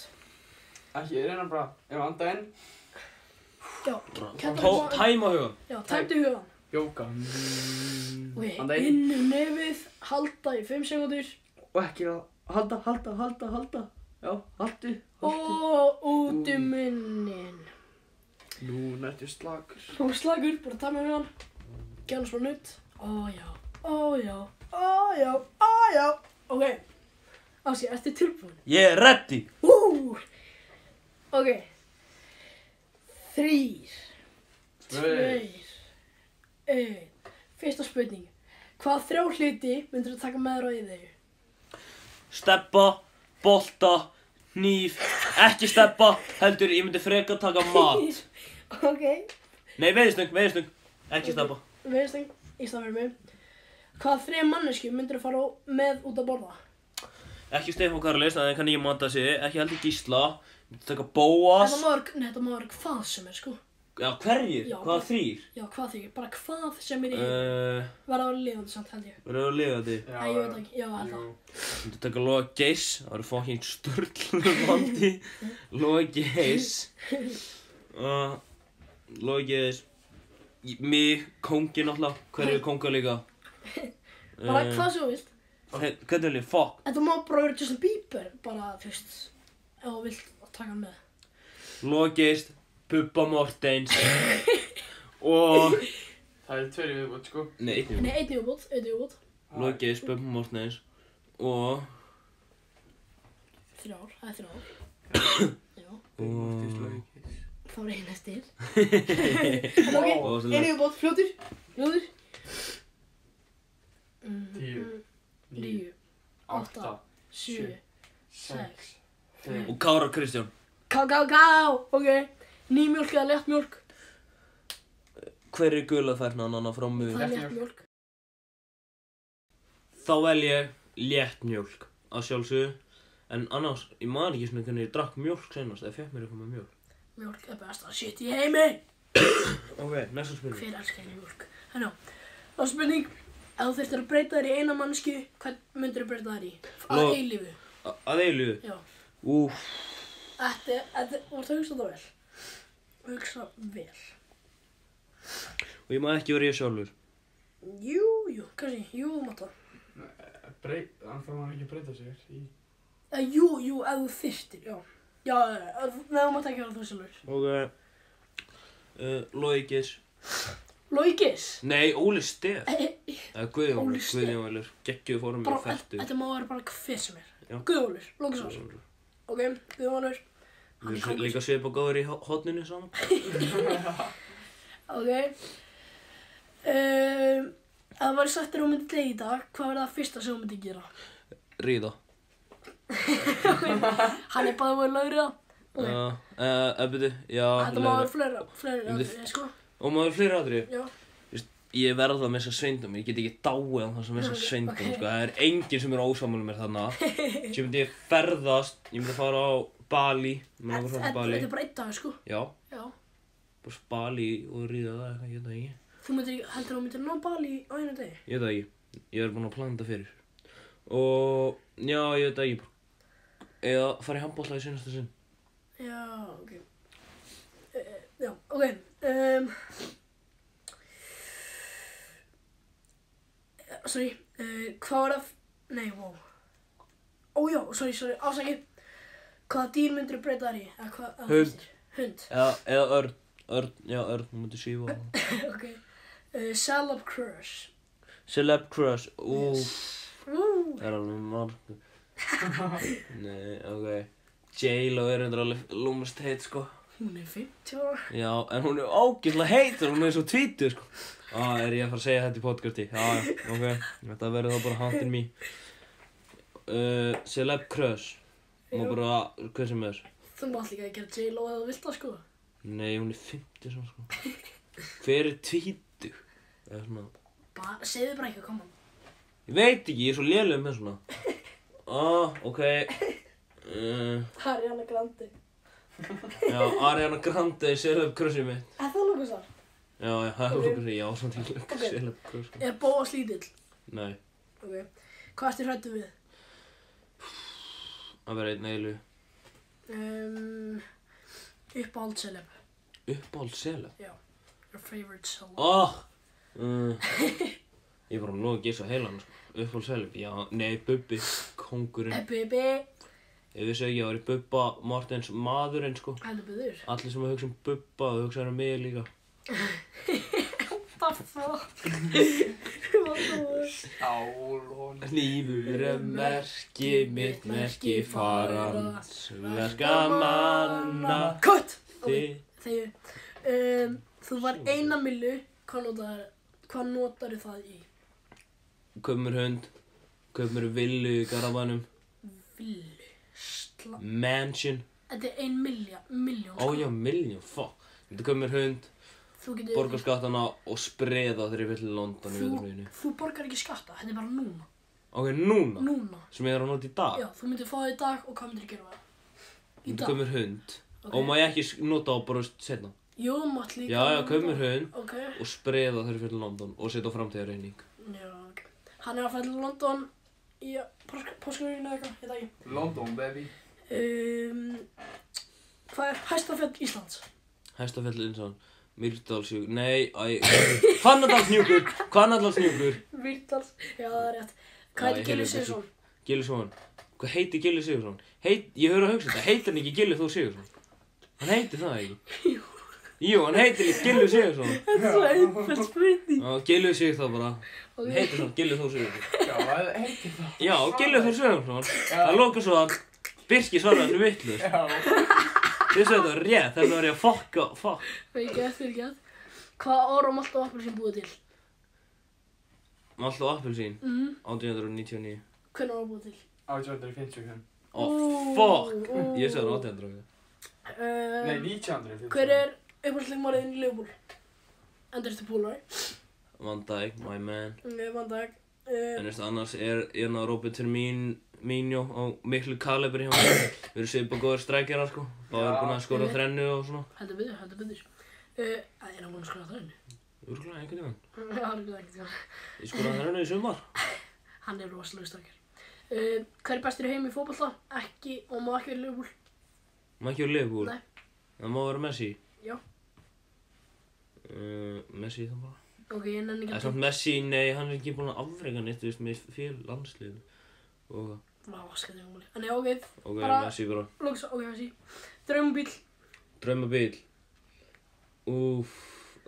C: Ekki, ég reyna hérna bara, ég var anda inn.
D: já, kættu
E: tó- tæma hugan.
D: Já, tæmdu hugan.
C: Jóka.
D: Ok,
C: Anda inn.
D: innu nefið, halda í 5 sekúndur
C: Og ekki að halda, halda, halda, halda. Já, haldu, haldu.
D: og út um munnin. Oh.
C: Nú, nættu slagur.
D: Þú slagur, bara tæma hugan, gæla svo nutt. Ó já, ó já, ó já, ó já. Ok, Ási, ertu tilbúin?
E: Ég er ready.
D: Ú! Ok. Þrýr.
C: Tveir.
D: Tveir. Einn. Fyrsta spurning. Hvað þrjá hluti myndir þú taka með þér á í þig?
E: Steppa, bolta, hníf, ekki steppa, heldur ég myndi freka taka mat.
D: ok.
E: Nei, veiðstöng, veiðstöng, ekki steppa.
D: Veðursteng, Íslandvermi. Hvað þrjá mannesku myndir þú fara á- með út að borða?
E: Ekki Stefán Karlis, það er kann ég manda sig, ekki heldur Gísla, myndi taka Bóas.
D: Þetta má vera, nei, þetta má vera hvað sem er sko.
E: Já, hverjir?
D: Já.
E: Hvaða þrýr?
D: Já, hvað þig, bara hvað sem er í uh,
E: Uh,
D: verða að vera lifandi samt held ég.
E: verður að lifa því.
D: Æ, ég veit ekki, já, held það.
E: Myndi taka Loga Geis, það eru fokkin störtlur um valdi. Loga Geis. Uh, Loga Geis. Í- Mig, kóngin alltaf, hverju er kónga líka?
D: Bara
E: Eh,
D: hvað sem þú vilt.
E: Hey, hvernig vil ég? Fuck.
D: Þetta má bara vera Justin Bieber, bara, þú veist, ef þú vilt að taka hann með.
E: Logist, Bubba Mortens og...
C: Það er tverju viðbútt, sko.
E: Nei, einnig
D: Nei, einn viðbútt, einn viðbútt,
E: Logist, Bubba Mortens og...
D: þrjár, það er þrjár. Já,
E: og...
D: þá er einn eftir.
E: og
D: ok,
E: svona-
D: einn viðbútt, fljótur, fljótur. Mm,
C: Tíu.
D: Níu, átta, sjö,
C: sjö,
D: sex.
E: Og Kára Kristján.
D: Ká, ká, ká, ok. Nýmjólk eða léttmjólk,
E: Hver er gula þærnan annar frá
D: það
E: mjög?
D: er
C: Léttmjólk.
D: léttmjólk.
E: Þá vel ég létt mjólk að sjálfsögðu. En annars, ég maður ekki svona hvernig ég drakk mjólk senast eða fekk mér eitthvað með mjólk.
D: Mjólk er besta shit í heimi.
E: Ok, næsta spurning.
D: Hver elskar ekki mjólk? Þannig á, þá er spurning, ef þú þurftir að breyta þér í eina mannsku, hvað myndir þú breyta þér í? Að
E: Ló-
D: eilífu,
E: A- Að eilíðu.
D: já.
E: Úf.
D: Þetta, þetta, þú ert að hugsa þetta vel. Hugsa vel.
E: Og ég maður ekki verið ég sjálfur.
D: Jú, jú, kannski, jú, þú mátt það.
C: Breyt, þannig að maður ekki að breyta sér í...
D: Eh, Jú, jú, ef þú þyrtir, já. Já, eh, ef- nei, þú mátt ekki vera þú sjálfur.
E: Ok. Uh, Logis.
D: Lókis.
E: Nei, Óli Stef. Það er
D: Óli
E: Guðjónur,
D: Steinn.
E: Guðjónur, geggjuð fórum í
D: Eh, Bara,
E: fættu.
D: þetta má vera bara hver sem er.
E: Já.
D: Guðvólur, Lókis ás. Ok, Guðvólur. Hann er
E: Við
D: kóngur.
E: líka svipa góður í hotninu saman.
D: Ok. Um, ef það var sagt þér að þú myndir degi í dag, hvað verður það fyrsta sem þú myndir gera?
E: Ríða.
D: Hann er bara verið lögrið það. Ok.
E: Eh, Ebbiti, já.
D: Þetta má
E: leiðra.
D: vera fleira, fleira,
E: Myndi-
D: atriði, sko.
E: Og maður fleiri aðrið.
D: Já.
E: Ég verða að missa sveindum, ég get ekki dáið að það sem missa
D: Ok,
E: sveindum,
D: ok.
E: sko. Það er enginn sem er ósammála mér þarna. Svo myndi ég ferðast, ég myndi fara á Bali, mér langar að fara á
D: Þetta
E: Bali.
D: þetta er bara einn dag, sko.
E: Já,
D: Já.
E: bara Bali og ríða það, eitthvað, ég veit það ekki.
D: Þú myndir, ekki- heldur að þú myndir ná Bali á einu degi?
E: Ég veit það ekki, ég er búinn að plana þetta fyrir. Og, já, ég veit það ekki. Eða fara í handbólla í sinasta sinn.
D: Já, ok. Uh, já, ok. Um, sorry, uh, hvað var það? f- Nei, wow. Ó já, sorry, sorry, ásakið. Hvaða dýr myndir þú breyta þar í? Eða hvað- eða
E: Hund.
D: hestir? Hund,
E: Eða, eða Örn, Örn, já Örn, hún myndi svífa á hann.
D: ok. Uh, Salab Crush.
E: Celeb Crush, úf,
D: Ú,
E: það er alveg marg. Nei, ok. J-Lo er endur alveg lúmast heit, sko.
D: hún er 50 ára.
E: Já, en hún er ógeðslega heit og hún er svo tvítið, sko. Á, er ég að fara að segja þetta í podcasti? Já, já, ok. Þetta verður þá bara handin mý. Uh, Celeb Crush. Má
D: Já.
E: bara, hvað sem er.
D: Þú mátt líka að gera J-Lo eða þú vilt það, sko.
E: Nei, hún er 50 svona, sko. Hver er tvítið? Eða svona...
D: Bara, segðu bara eitthvað, koma.
E: Ég veit ekki, ég er svo léleg með svona. Ah, ok. Uh,
D: Ariana Grande.
E: já, Ariana Grande er sérlega upp krössið mitt.
D: Er það lókusar?
E: Já, já, það er okkur, já, svona til
D: Ok.
E: selabkur, sko.
D: Er Bóas lítill?
E: Nei,
D: Ok. Hvað ertu hrættu við?
E: að vera einn eilu
D: Um, uppáhald celeb.
E: uppáhald selab.
D: Your favorite celeb.
E: Oh! Uh, ég var nú að gísa heilan, sko. Uppáhald selab, já, nei, Bubbi, kongurinn.
D: Eh, Bibi.
E: Ég vissi ekki að það væri Bubba Mortens maðurinn, sko.
D: Heldur byður.
E: Allir sem að hugsa um Bubba, þau hugsa um mig líka.
D: Það það.
C: Álón
E: Lífur er merki, mitt merki farans, verka manna,
D: Kutt!
E: þið.
D: Þegar um, þú var eina millu, hvað notar, hvað notar það í?
E: Kaup mér hund, kaup mér villu í garabanum,
D: Villu. Sla.
E: mansion,
D: Þetta er ein milja, miljón.
E: Ó já, miljón, fuck. Þetta kom mér hund,
D: Þú getur...
E: borga skattana og spreða þegar ég fyrir til London í
D: Þú,
E: veðröðinu.
D: þú borgar ekki skatta, þetta er bara núna.
E: Ok, núna,
D: Núna.
E: sem ég er að nota í dag.
D: Já, þú myndir fá það í dag og hvað myndir að gera það? Í
E: Þetta
D: dag?
E: kom mér hund
D: Ok.
E: og má ég ekki s- nota á bara setna.
D: Jú, mátt líka.
E: Já, já, kaup mér hund
D: Ok,
E: og spreða þegar ég fyrir til London og setja á framtíðarreining.
D: já, ok. Hann er að fæða til London í páskarvínu eða eitthvað, ég veit það ekki.
C: London baby
D: Um, hvað er hæstafjall Íslands?
E: Hæstafell Innsson, Myrdalsjökull, nei, æ, Hvannadalsnjúkur, Hvannadalsnjúkur.
D: Vírdals, já það er rétt. Hvað
E: Já, ég
D: heitir Gilli
E: heyrði
D: Sigurðsson?
E: Gilli Svoðan, hvað heitir Gilli Sigurðsson? Heit, ég höfður að hugsa þetta, heitir hann ekki Gilli Þór Sigurðsson? Hann heitir það ekki? Jú, hann heitir ekki Gilli Sigurðsson.
D: Þetta er svo einföld spurning.
E: Já, Gilli Sigurðsson bara, hann
D: Ok,
E: heitir það Gilli Þór Sigurðsson.
C: Já, það heitir það
E: Já, Gilli Þór Sigurðsson, það lóka svo að Birki svaraði þessu vittlust.
C: Já,
E: Þið sagði þetta var rétt, þannig var ég að fokka, fokk.
D: við gett, við gett. Hvað ára malt um og appelsín búið til?
E: Alltaf appelsín,
D: Mm,
E: 1899.
D: hvernig ára búið til?
C: 1850 hérna.
E: Ó,
D: Ú,
E: fokk,
D: ú.
E: Oh, ég sagði 1800.
C: Nei,
D: Um,
C: 1950
D: hver er upphaldsleikmariðin í Leopold? Endur þetta púlar.
E: Van Dijk, my man
D: Van dag.
E: En
D: Um,
E: veist, annars er hérna Robert Termín Mínjó á miklu kalibri hjá mér Við erum svipa góðir strækjara sko Báður
C: Já.
E: búin að skora
D: Mhm.
E: þrennu og svona
D: heldur byrður, heldur byrður. Uh, er hann búinn að skora það henni?
E: Úrglæði einhvern veginn
D: Það er ekki ekkert það.
E: Ég skora þrennu í sumar
D: Hann er rosalega stakar. Uh, hver er bestur í heimi í fótballa? Ekki, og má ekki vera Leopold.
E: Má ekki vera Liverpool
D: Nei.
E: Það má vera Messi
D: Já.
E: uh, Messi þá bara
D: Ok, ég nenni
E: Það
D: ekki
E: er samt Messi, nei, hann er ekki búin að afreika neitt Þú veist, með fél landslið Og
D: Vá, skæði umhverfið. En já, ok,
E: ok,
D: Bara-
E: Messi bara
D: Lóks, ok, þessi. Draumubíl.
E: Draumabíl Úff,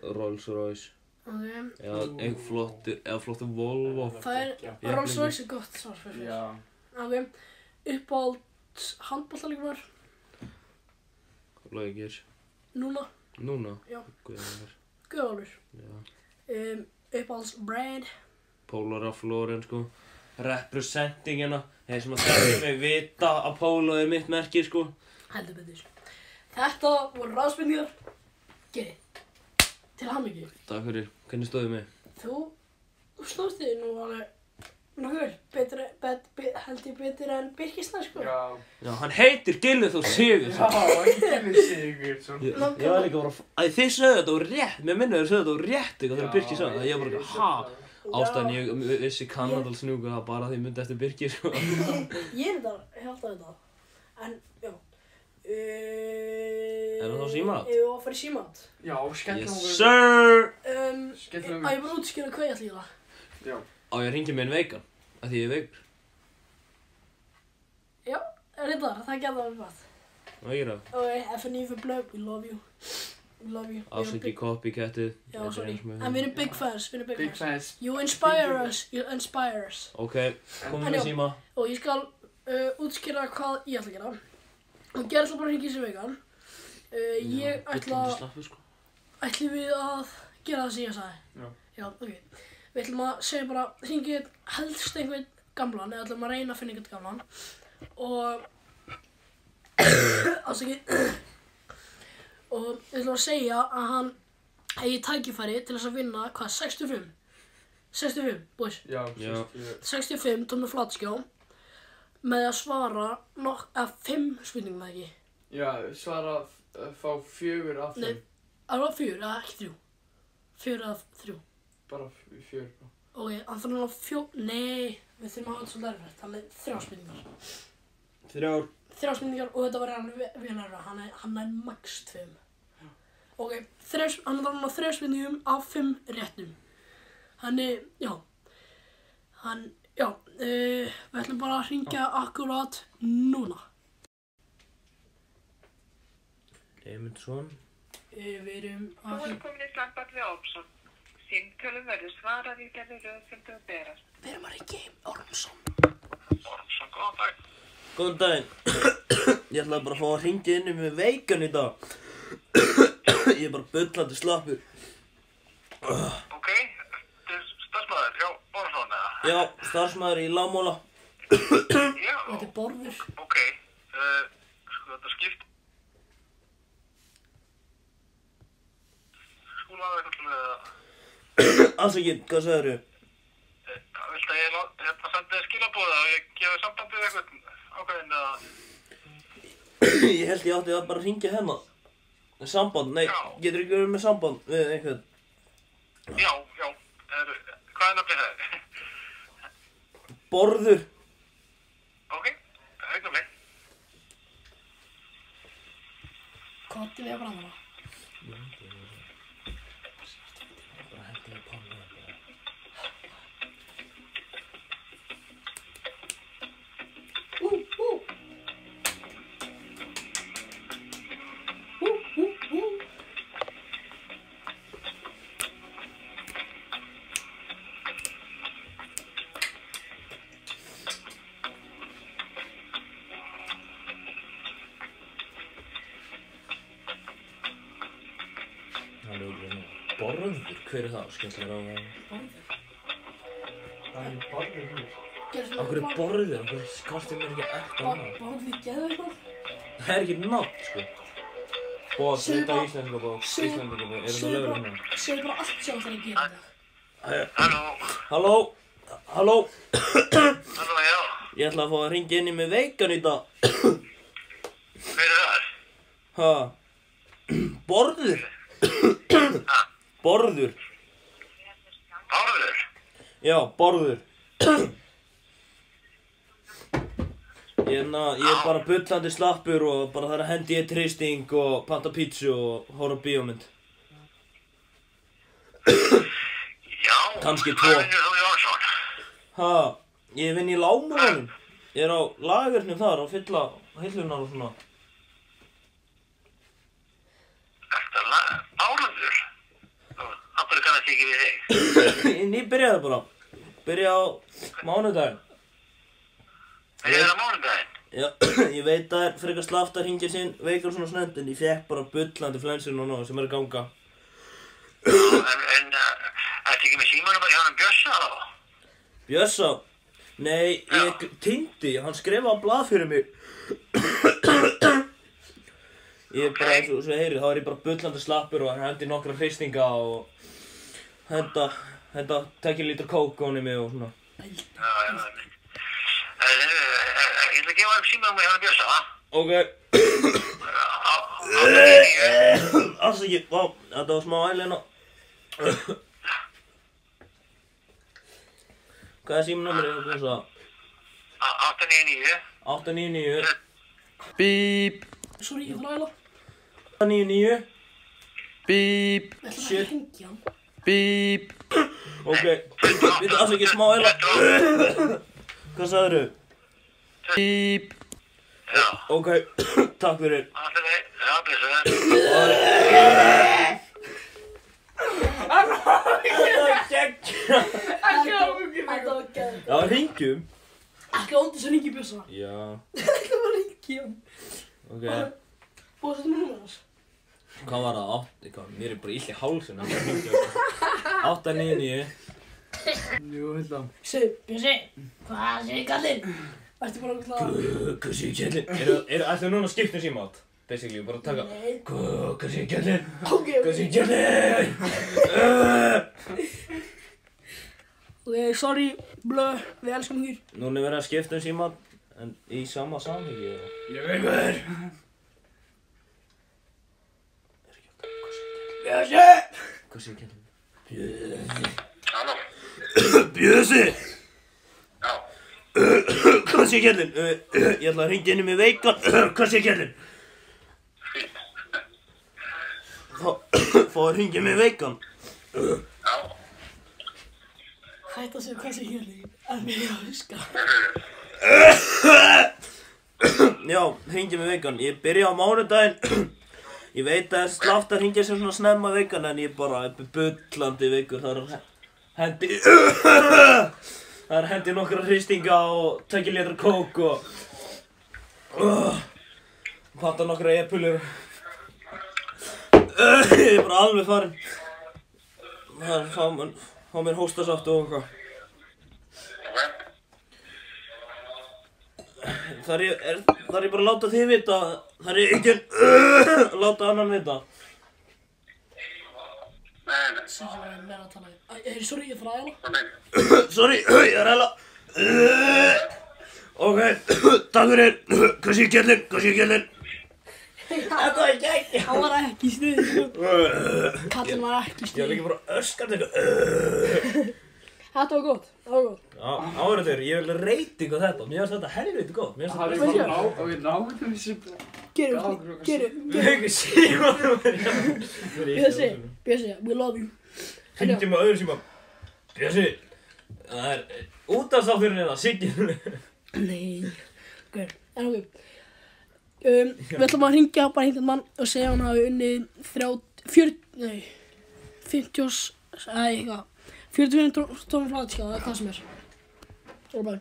E: Rolls Royce
D: Ok.
E: Eða eitthvað flottur, eða flottur Volvo
D: Það er
C: Já.
E: Ég
D: Rolls
E: nenni.
D: Royce er gott svar fyrir þér.
C: Já,
D: Ok. Uppáhalds handbóltalíkumar
E: Lógir
D: núna.
E: Núna?
D: Já.
E: Guðar,
D: Guðvalur.
E: já.
D: Um, uppáhalds brand.
E: Pólar af Flóren, sko. Representingina. Þeir sem að þekkja mig vita að Pólo er mitt merki, sko.
D: Heldur betur. Þetta voru ráðspendingar. Gerið. Til hammingi.
E: Takk fyrir. Hvernig stóðu mig?
D: Þú, þú stóðst þig nú alveg nokkur. Betur, bet, bet, held ég betur en Birkisna, sko.
C: já
E: Já, hann heitir Gilið Þór Sigur.
C: Já, enginn sigur Svona
E: Ég ég var líka bara að... Æ, þið sögðu þetta á rétt. Mér minna þið sögðu þetta á rétt, eitthvað þegar Birki sagði það. Ég var bara, eitthvað, ha? Ástæðan ég ég vissi Kanadal snúka það bara því myndi eftir Birki, sko.
D: Ég er þetta, ég held að þetta. En, já.
E: Er
D: Er
E: það þá símat?
D: Ég var að fara í símat.
C: Já, skellum
E: Yes,
C: okkur
E: sir!
D: Um,
C: Skellum
D: að ég bara útskýra hvað ég ætla í það.
C: Já
E: Á, ég ringi minn veikan. Af því ég er veikur.
D: Rindar, Eh, það gæti að vera hvað.
E: Má ég gera það?
D: Ok, FNI for Blöf, we love you. We love you. Við erum
E: Afsaki
D: big-
E: copycatið.
D: Já,
E: Þetta er
D: sorry.
E: eins með-
D: En við erum big fans, við erum big,
C: Big
D: fans.
C: fans
D: You inspire us, you inspire us.
E: Ok, komum
D: En já.
E: við síma.
D: Og ég skal uh, útskýra hvað ég ætla að gera. Og gerði ætla bara að hringja í sig vegan. Uh, ég ætla að...
E: sko.
D: Ætlum við að gera það sem ég sagði?
C: Já.
D: Já, ok. Við ætlum að segja bara, hringi helst einhvern gamlan, eða ætlum að reyna að finna einhvern gamlan. Og... Ásakið. og við ætlum að segja að hann hegi tækifæri til þess að vinna, hvað, 65? 65, boys.
C: Já,
E: Já.
D: 65 tónu flatskjá með að svara nokk, eða 5 spurningum eða ekki.
C: Já, svara að eh, fá fjögur af
D: Nei,
C: þeim
D: það var 4, eða ekki 3. Fjör að þrjú.
C: Bara f- fjör bara.
D: Ok, hann þarf náttúrulega fjó... Nei, við þurfum að hafa þetta svolítið erfitt. Hann er þrjá spurningar.
E: Þrjár.
D: Þrjá spurningar og þetta var hann vel erfið. Hann er, hann er max tveim. Ok, þrjá, hann þarf náttúrulega þrjá spurningum af fimm réttum. Hann er, já. Hann, já. Uh, við ætlum bara að hringja akkurát núna.
E: Eymundsson.
D: Uh, við erum
F: Þú
D: að
F: er
D: hringja...
F: komin í samband við Ormsson. Símtölum verður svarað í þeirri röð sem þau berast.
D: Við erum að hringja heim Ormsson.
F: Ormsson, góðan dag.
E: Góðan daginn. ég ætlaði bara að fá að ringja inn um með veikan í dag. ég er bara bullandi slappur.
F: Ok, þetta er starfsmæður hjá Ormsson eða?
E: Já, starfsmæður í lágmóla.
F: Já,
D: Þetta er Borður.
F: ok. Uh, sko þetta skipt. Skúlaðu eitthvað með það.
E: Afsakið, hvað sagður þau?
F: Vilt að ég lá- hérna sendi þér skilabóða og ég gefi samband við eitthvað ákveðin eða?
E: ég held ég átti að bara ringja hennar. Samband, nei,
F: Já.
E: getur ekki verið með samband við einhvern.
F: Já, já. Er, hvað er nafnið það?
E: Borður.
F: ok, augnumleg.
D: Kottir við að brandara.
E: Hann er okkur nú. Borður, hver er það? Skemmtilega ráða.
D: Borður.
C: Það er bara hér.
D: Gerðu
E: Akkur er borður, okkur skortir mér ekki eftir
D: Bor-
E: hann.
D: Borður, geðu eitthvað.
E: Það er ekki nátt, sko. Bóða,
D: Segðu
E: þetta
D: bara-
E: er íslenska bók,
D: segðu-
E: íslenska bók, er það
D: Segðu
E: lögur
D: bara,
E: hennar?
D: segðu bara allt sem það er að gera þetta.
F: Halló,
E: Halló, halló,
F: halló, já.
E: ég ætla að fá að ringja inn í með veikan í dag.
F: Hver er það?
E: Ha, borður, borður,
F: Bárður?
E: já, borður. Ég, na, ég er bara bullandi slappur og bara þar að hendi ég tristing og panta pítsu og horfa á bíómynd.
F: Já.
E: Kannski
F: Hvað
E: tvo.
F: vinnur þú Jónsson?
E: Ha, ég vinn í lágmólanum. Ég er á lagurnum þar og fylla hillunar og svona.
F: Þetta er Bárður. Það bara kannast ekki við þig.
E: Ég ný byrjaði bara. Byrjaði á mánudaginn.
F: Það er það mánudaginn.
E: Já, ég veit að það er frekar slaft að hringja sinn veikar svona snönd en ég fekk bara bullandi flensir núna sem er að ganga.
F: En, en, þetta er ekki með símanum bara hjá hann Bjössa þá?
E: Bjössa, nei, ég týndi, hann skrifaði á blað fyrir mig. Ég er bara, eins og svo heyrið, þá er ég bara bullandi slappur og hendi nokkra hristinga og henda, henda, tekja lítur kók á mig og svona.
F: Já, já, já. Eh, Ég ætla að gefa hann símanum hjá hann Bjössa, va?
E: Ok,
F: Á, á, á,
E: afsakið, vá, þetta var smá ælina. Hvað er símnúmerið hjá Bjössa?
F: á, 899.
E: 899
C: Bíp,
D: Sorry, ég þarf að æla.
E: 899
C: bíp,
D: Við ætlum
E: Shit.
D: að hringja hann.
C: bíp.
E: Ok, við það ekki smá eila Hvað sagður þau?
C: Bíp.
F: Já,
E: Ok, takk fyrir
F: það er það. Já, Bjössa.
D: Ekki á hringi mig. Þetta var gæður.
E: Já, hringjum
D: Ekki á undir sem hringi bjösa.
E: Já,
D: Þetta var hringi hann.
E: ok
D: Búið að setja mér númer hans.
E: Hvað var það? Átt, hvað, mér er bara illi hálsin 899
C: Jú, held að.
D: Segðu, bjösi, hvað segir kallinn? Ertu bara að kalla
E: Guðkassi í kjallin Eru, eru, ættu núna að skipta síma átt? Basically, bara taka
D: Nei.
E: Guðkassi í kjallin
D: Ok, ok.
E: Guðkassi í kjallin
D: Ok, sorry, blö, við elskum þér.
E: Núna er verið að skipta um síma En í sama samhengi eða?
C: Ég veit hvað er.
E: Er ekki að Guðkassi í kjallin
D: Bjösi!
E: Guðkassi í kjallin
F: Halló?
E: Bjössi,
F: Já,
E: hvað sé kjallinn? Uh, uh, ég ætla að ringja inn í mig veikan, uh, hvað sé kjallinn?
F: fín.
E: Fá að ringja í mig veikan.
F: Já,
D: Hætt að segja hvað sem ég er að mig að huska.
E: Já, ringja í mig veikan. Ég byrja á mánudaginn. Ég veit að það er slátt að ringja sér svona snemma veikan en ég er bara upp í bullandi veikur. Það er hendi... Það er hendi nokkra hristinga og tökja létra kók og... Uh, Panta nokkra epulur. Ég er bara alveg farinn. Það er fá, mér- fá mér hóstasátt og eitthvað.
F: ok.
E: Þar ég, er, þar ég bara að láta þið vita, þar ég ekki að láta annan vita.
F: Nei, nei,
D: Svo sem ég er meira að tala um. Æ, er, sorry, ég þræði hana.
F: hvað meina?
E: Sorry, ég er heila. Ok, takk fyrir, hvað sé ég kjallinn, hvað sé ég kjallinn? Þetta var ekki.
D: Hann var ekki í stuði, sko. Kallinn var ekki í
E: Ég var
D: stuði.
E: líka bara öskandi eitthvað.
D: Þetta var gott, það var gott.
E: Já, áhverjandur, ég vil reyting á þetta, mér finnst þetta helviti góð, mér
C: Það
E: finnst
C: er
D: Hvað
C: bara
D: séu?
C: ná, og við náðum þessu bara.
D: Gerum,
C: Já,
D: gerum,
E: þetta
D: gerum.
E: ekki símanúmer.
D: Bjössi, Bjössi, we love you.
E: Hringdi mig á öðru síma. Bjössi, það er útastátturinn eða Siggi.
D: Nei, ok, en ok um, Við ætlum að ringja bara einhvern mann og segja hann hafi unnið þrjá, fjör, nei 50 og, eða eitthvað 40 tónum flatskjáð, eða hvað sem er Og bara,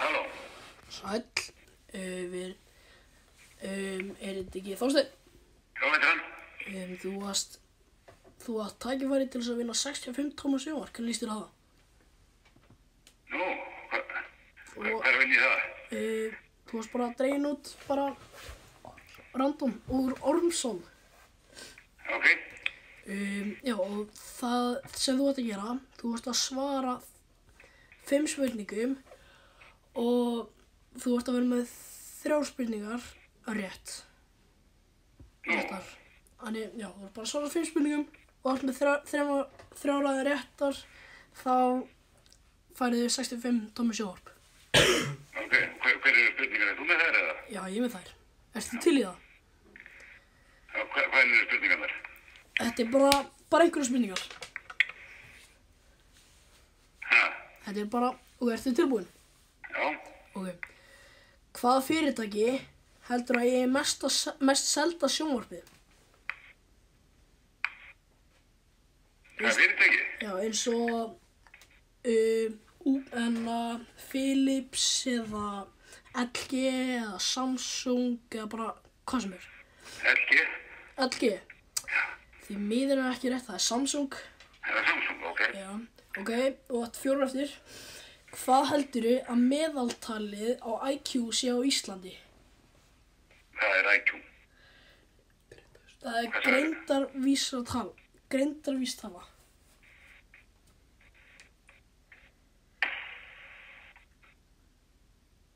F: Halló?
D: sæll uh, Við um, er þetta ekki Þorsteinn
F: Já, veitir hann?
D: um, Þú varst Þú átt tækifæri til þess að vinna 65 tónum sjónvarp, hvernig líst þér að það?
F: Nú, hvað
D: Og
F: hvað er vinn í það?
D: uh, þú varst bara að dregin út bara random úr Ormsson
F: Ok,
D: Um, já, og það sem þú ert að gera, þú ert að svara fimm spurningum og þú ert að vera með þrjár spurningar rétt. Réttar. Þannig, já, þú ert bara að svara fimm spurningum og ert með þrjá- þrjá- þrjár að réttar, þá færið þið 65 tómi sjóarp.
F: ok. Hver, hver eru spurningar? Þú með þær eða?
D: Já, ég er með þær. Ertu til í það?
F: Já, hva- Hvað eru spurningarnar?
D: Þetta er bara, bara einhverju spurningar.
F: Ha,
D: Þetta er bara, og ertu tilbúin?
F: já,
D: Ok. Hvaða fyrirtæki heldur að ég er mest, mest selda sjónvarpið?
F: það er fyrirtæki.
D: Já, eins og um, UNA, Philips eða LG eða Samsung eða bara hvað sem er.
F: LG,
D: LG. Því miður er ekki rétt, það er Samsung.
F: eða Samsung, ok.
D: Já, ok, og þetta fjórum eftir. Hvað heldurðu að meðaltalið á IQ sé á Íslandi?
F: Það er IQ.
D: Það er greindarvísatala. Greindarvísatala.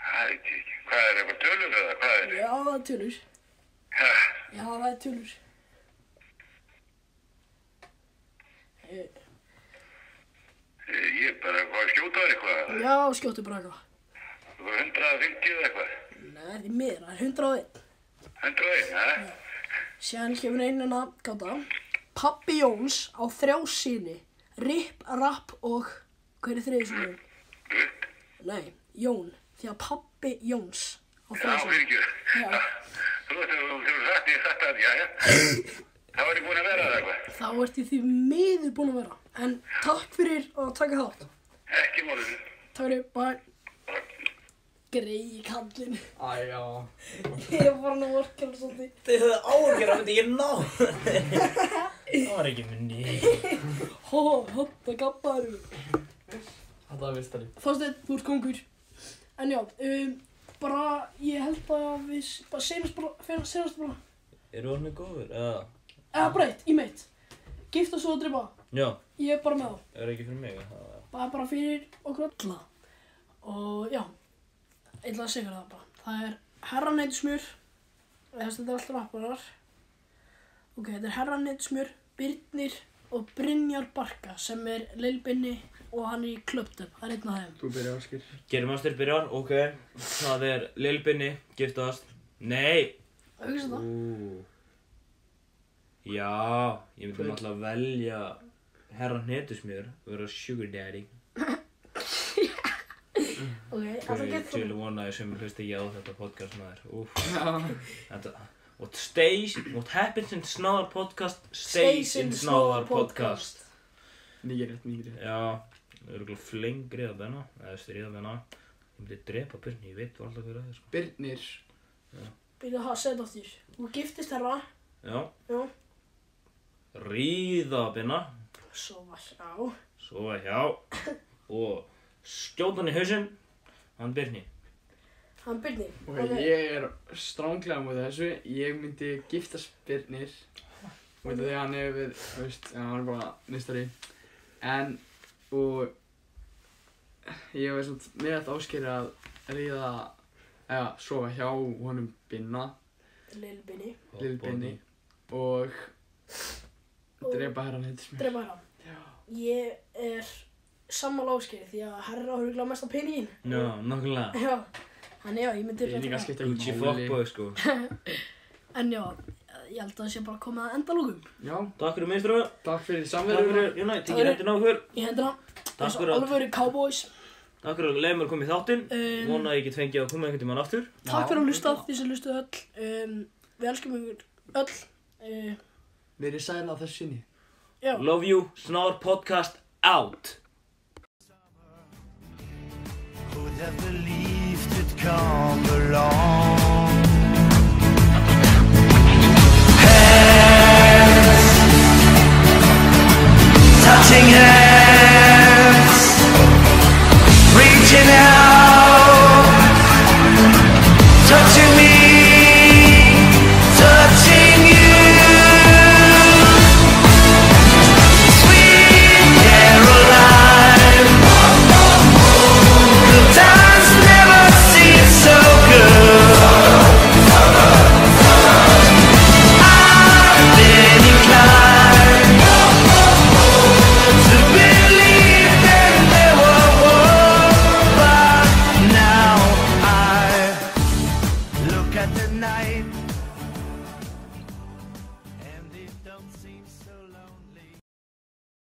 F: Það veit ég ekki. Hvað er eitthvað tölur eða hvað er?
D: Já, það er tölur.
F: Ha,
D: Já, það er tölur. Eh,
F: eh, ég er bara, hvað skjótaður eitthvað?
D: Já, skjóttu bara eitthvað.
F: Þú er 150 eða eitthvað?
D: Nei, því miður, það er 101.
F: 101, ha?
D: Síðan kemur einina gáta. Pappi Jóns á þrjá síni. Rip, rap og... Hver er þriðið síni?
F: Rutt.
D: Nei, Jón. Því að pappi Jóns á
F: Já,
D: þrjá
F: fyrir
D: síni.
F: ekki.
D: Já,
F: Þú veist að þú hefur sagt ég þetta, já, já. Það var ég búin að vera það eitthvað.
D: þá ert ég því miður búin að vera. En takk fyrir að taka þátt.
F: Ekki málið.
D: Takk fyrir, bye. Grei kallin.
C: Æ, já.
D: Ég er bara nú að orkja og svolítið.
E: Þið höfðu áhyggjur af þetta, ég náði Það var ekki minn í.
D: Hó, hopp, það gabbaður.
C: Þetta var vistari.
D: Þorsteinn, þú ert kongur. En já, um, bara, ég held bara að við, s- bara senast bara, fyrir senast bara.
E: Eru orðinni góður? Eða,
D: eða breytt, í mitt gifta svo að dripa,
E: Já,
D: ég er bara með þá
E: er ekki fyrir mig að það
D: það er bara fyrir okkur alla og já eitthvað sigur það bara það er herraneytismjör þess þetta er alltaf rapparar ok, þetta er herraneytismjör Birnir og Brynjar Barka sem er Lilbinni og hann er í klöptum, það er einn af þeim
C: Þú byrjar áskil.
E: Gerum aðstyr byrjar, ok Það er Lilbinni, giftast Nei,
D: að hugsa það,
E: já Ég myndi náttúrulega velja Herra hnetusmjör, vera sugar daddy
D: ok, alltaf
E: Fyrir
D: gett
E: til
D: það
E: vonaði sem hlust ekki á þetta podcast maður Úf,
C: Já.
E: þetta What stays, what happens in snáðar podcast Stays,
D: Stays
E: in
D: in
E: snáðar
D: Snáðar
E: podcast
C: Mikið rétt, mikið rétt.
E: Já, það eru flengri að benna Eða stríða benna Ég myndi drepa byrni, ég veit alltaf hver að það sko.
C: Birnir.
D: byrja það að setja á þér hún giftist herra,
E: Já,
D: já,
E: ríða benna
D: svo var já
E: Svo að hjá Og skjóta hann í hausinn Hann byrni
D: hann Birnir,
C: Ok, ég er stránglega múið þessu. Ég myndi giftast Birnir. Út af því að hann hefur verið, þú veist, hann er bara mistari. En, og ég hef svona mér eftir áskýri að ríða, eða sofa hjá honum Binna,
D: Lilbinni
C: Lil Binni, og drepa herran hittis mér.
D: drepa herra ég er sammála áskeri því að herra hefur gláð mest á peningin
E: Já, nokkulega
D: já, en já, ég myndi
C: Ég er líka að skipta
E: Gucci
C: ekki máli.
E: fokkbóð sko
D: en já, ég held að það sé bara komið að endalókum
C: Já,
E: Takk fyrir minnströðu
C: takk fyrir
E: Takk
C: samverðuna.
E: fyrir, Jónæ, tekið réttin á okkur
D: í hendina
E: Takk fyrir allt.
D: alveg cowboys
E: Takk fyrir að leiða mér að koma í þáttinn
D: Um,
E: Vona að ég get fengið að koma einhvern tímann aftur
D: takk
C: Já,
D: fyrir að hlusta
C: já.
D: því sem hlustu öll um, við elskum ykkur öll uh,
C: Verið sæl á þessu sinni.
D: já
E: Love you, snáðar podcast out
G: Who'd have believed it come along?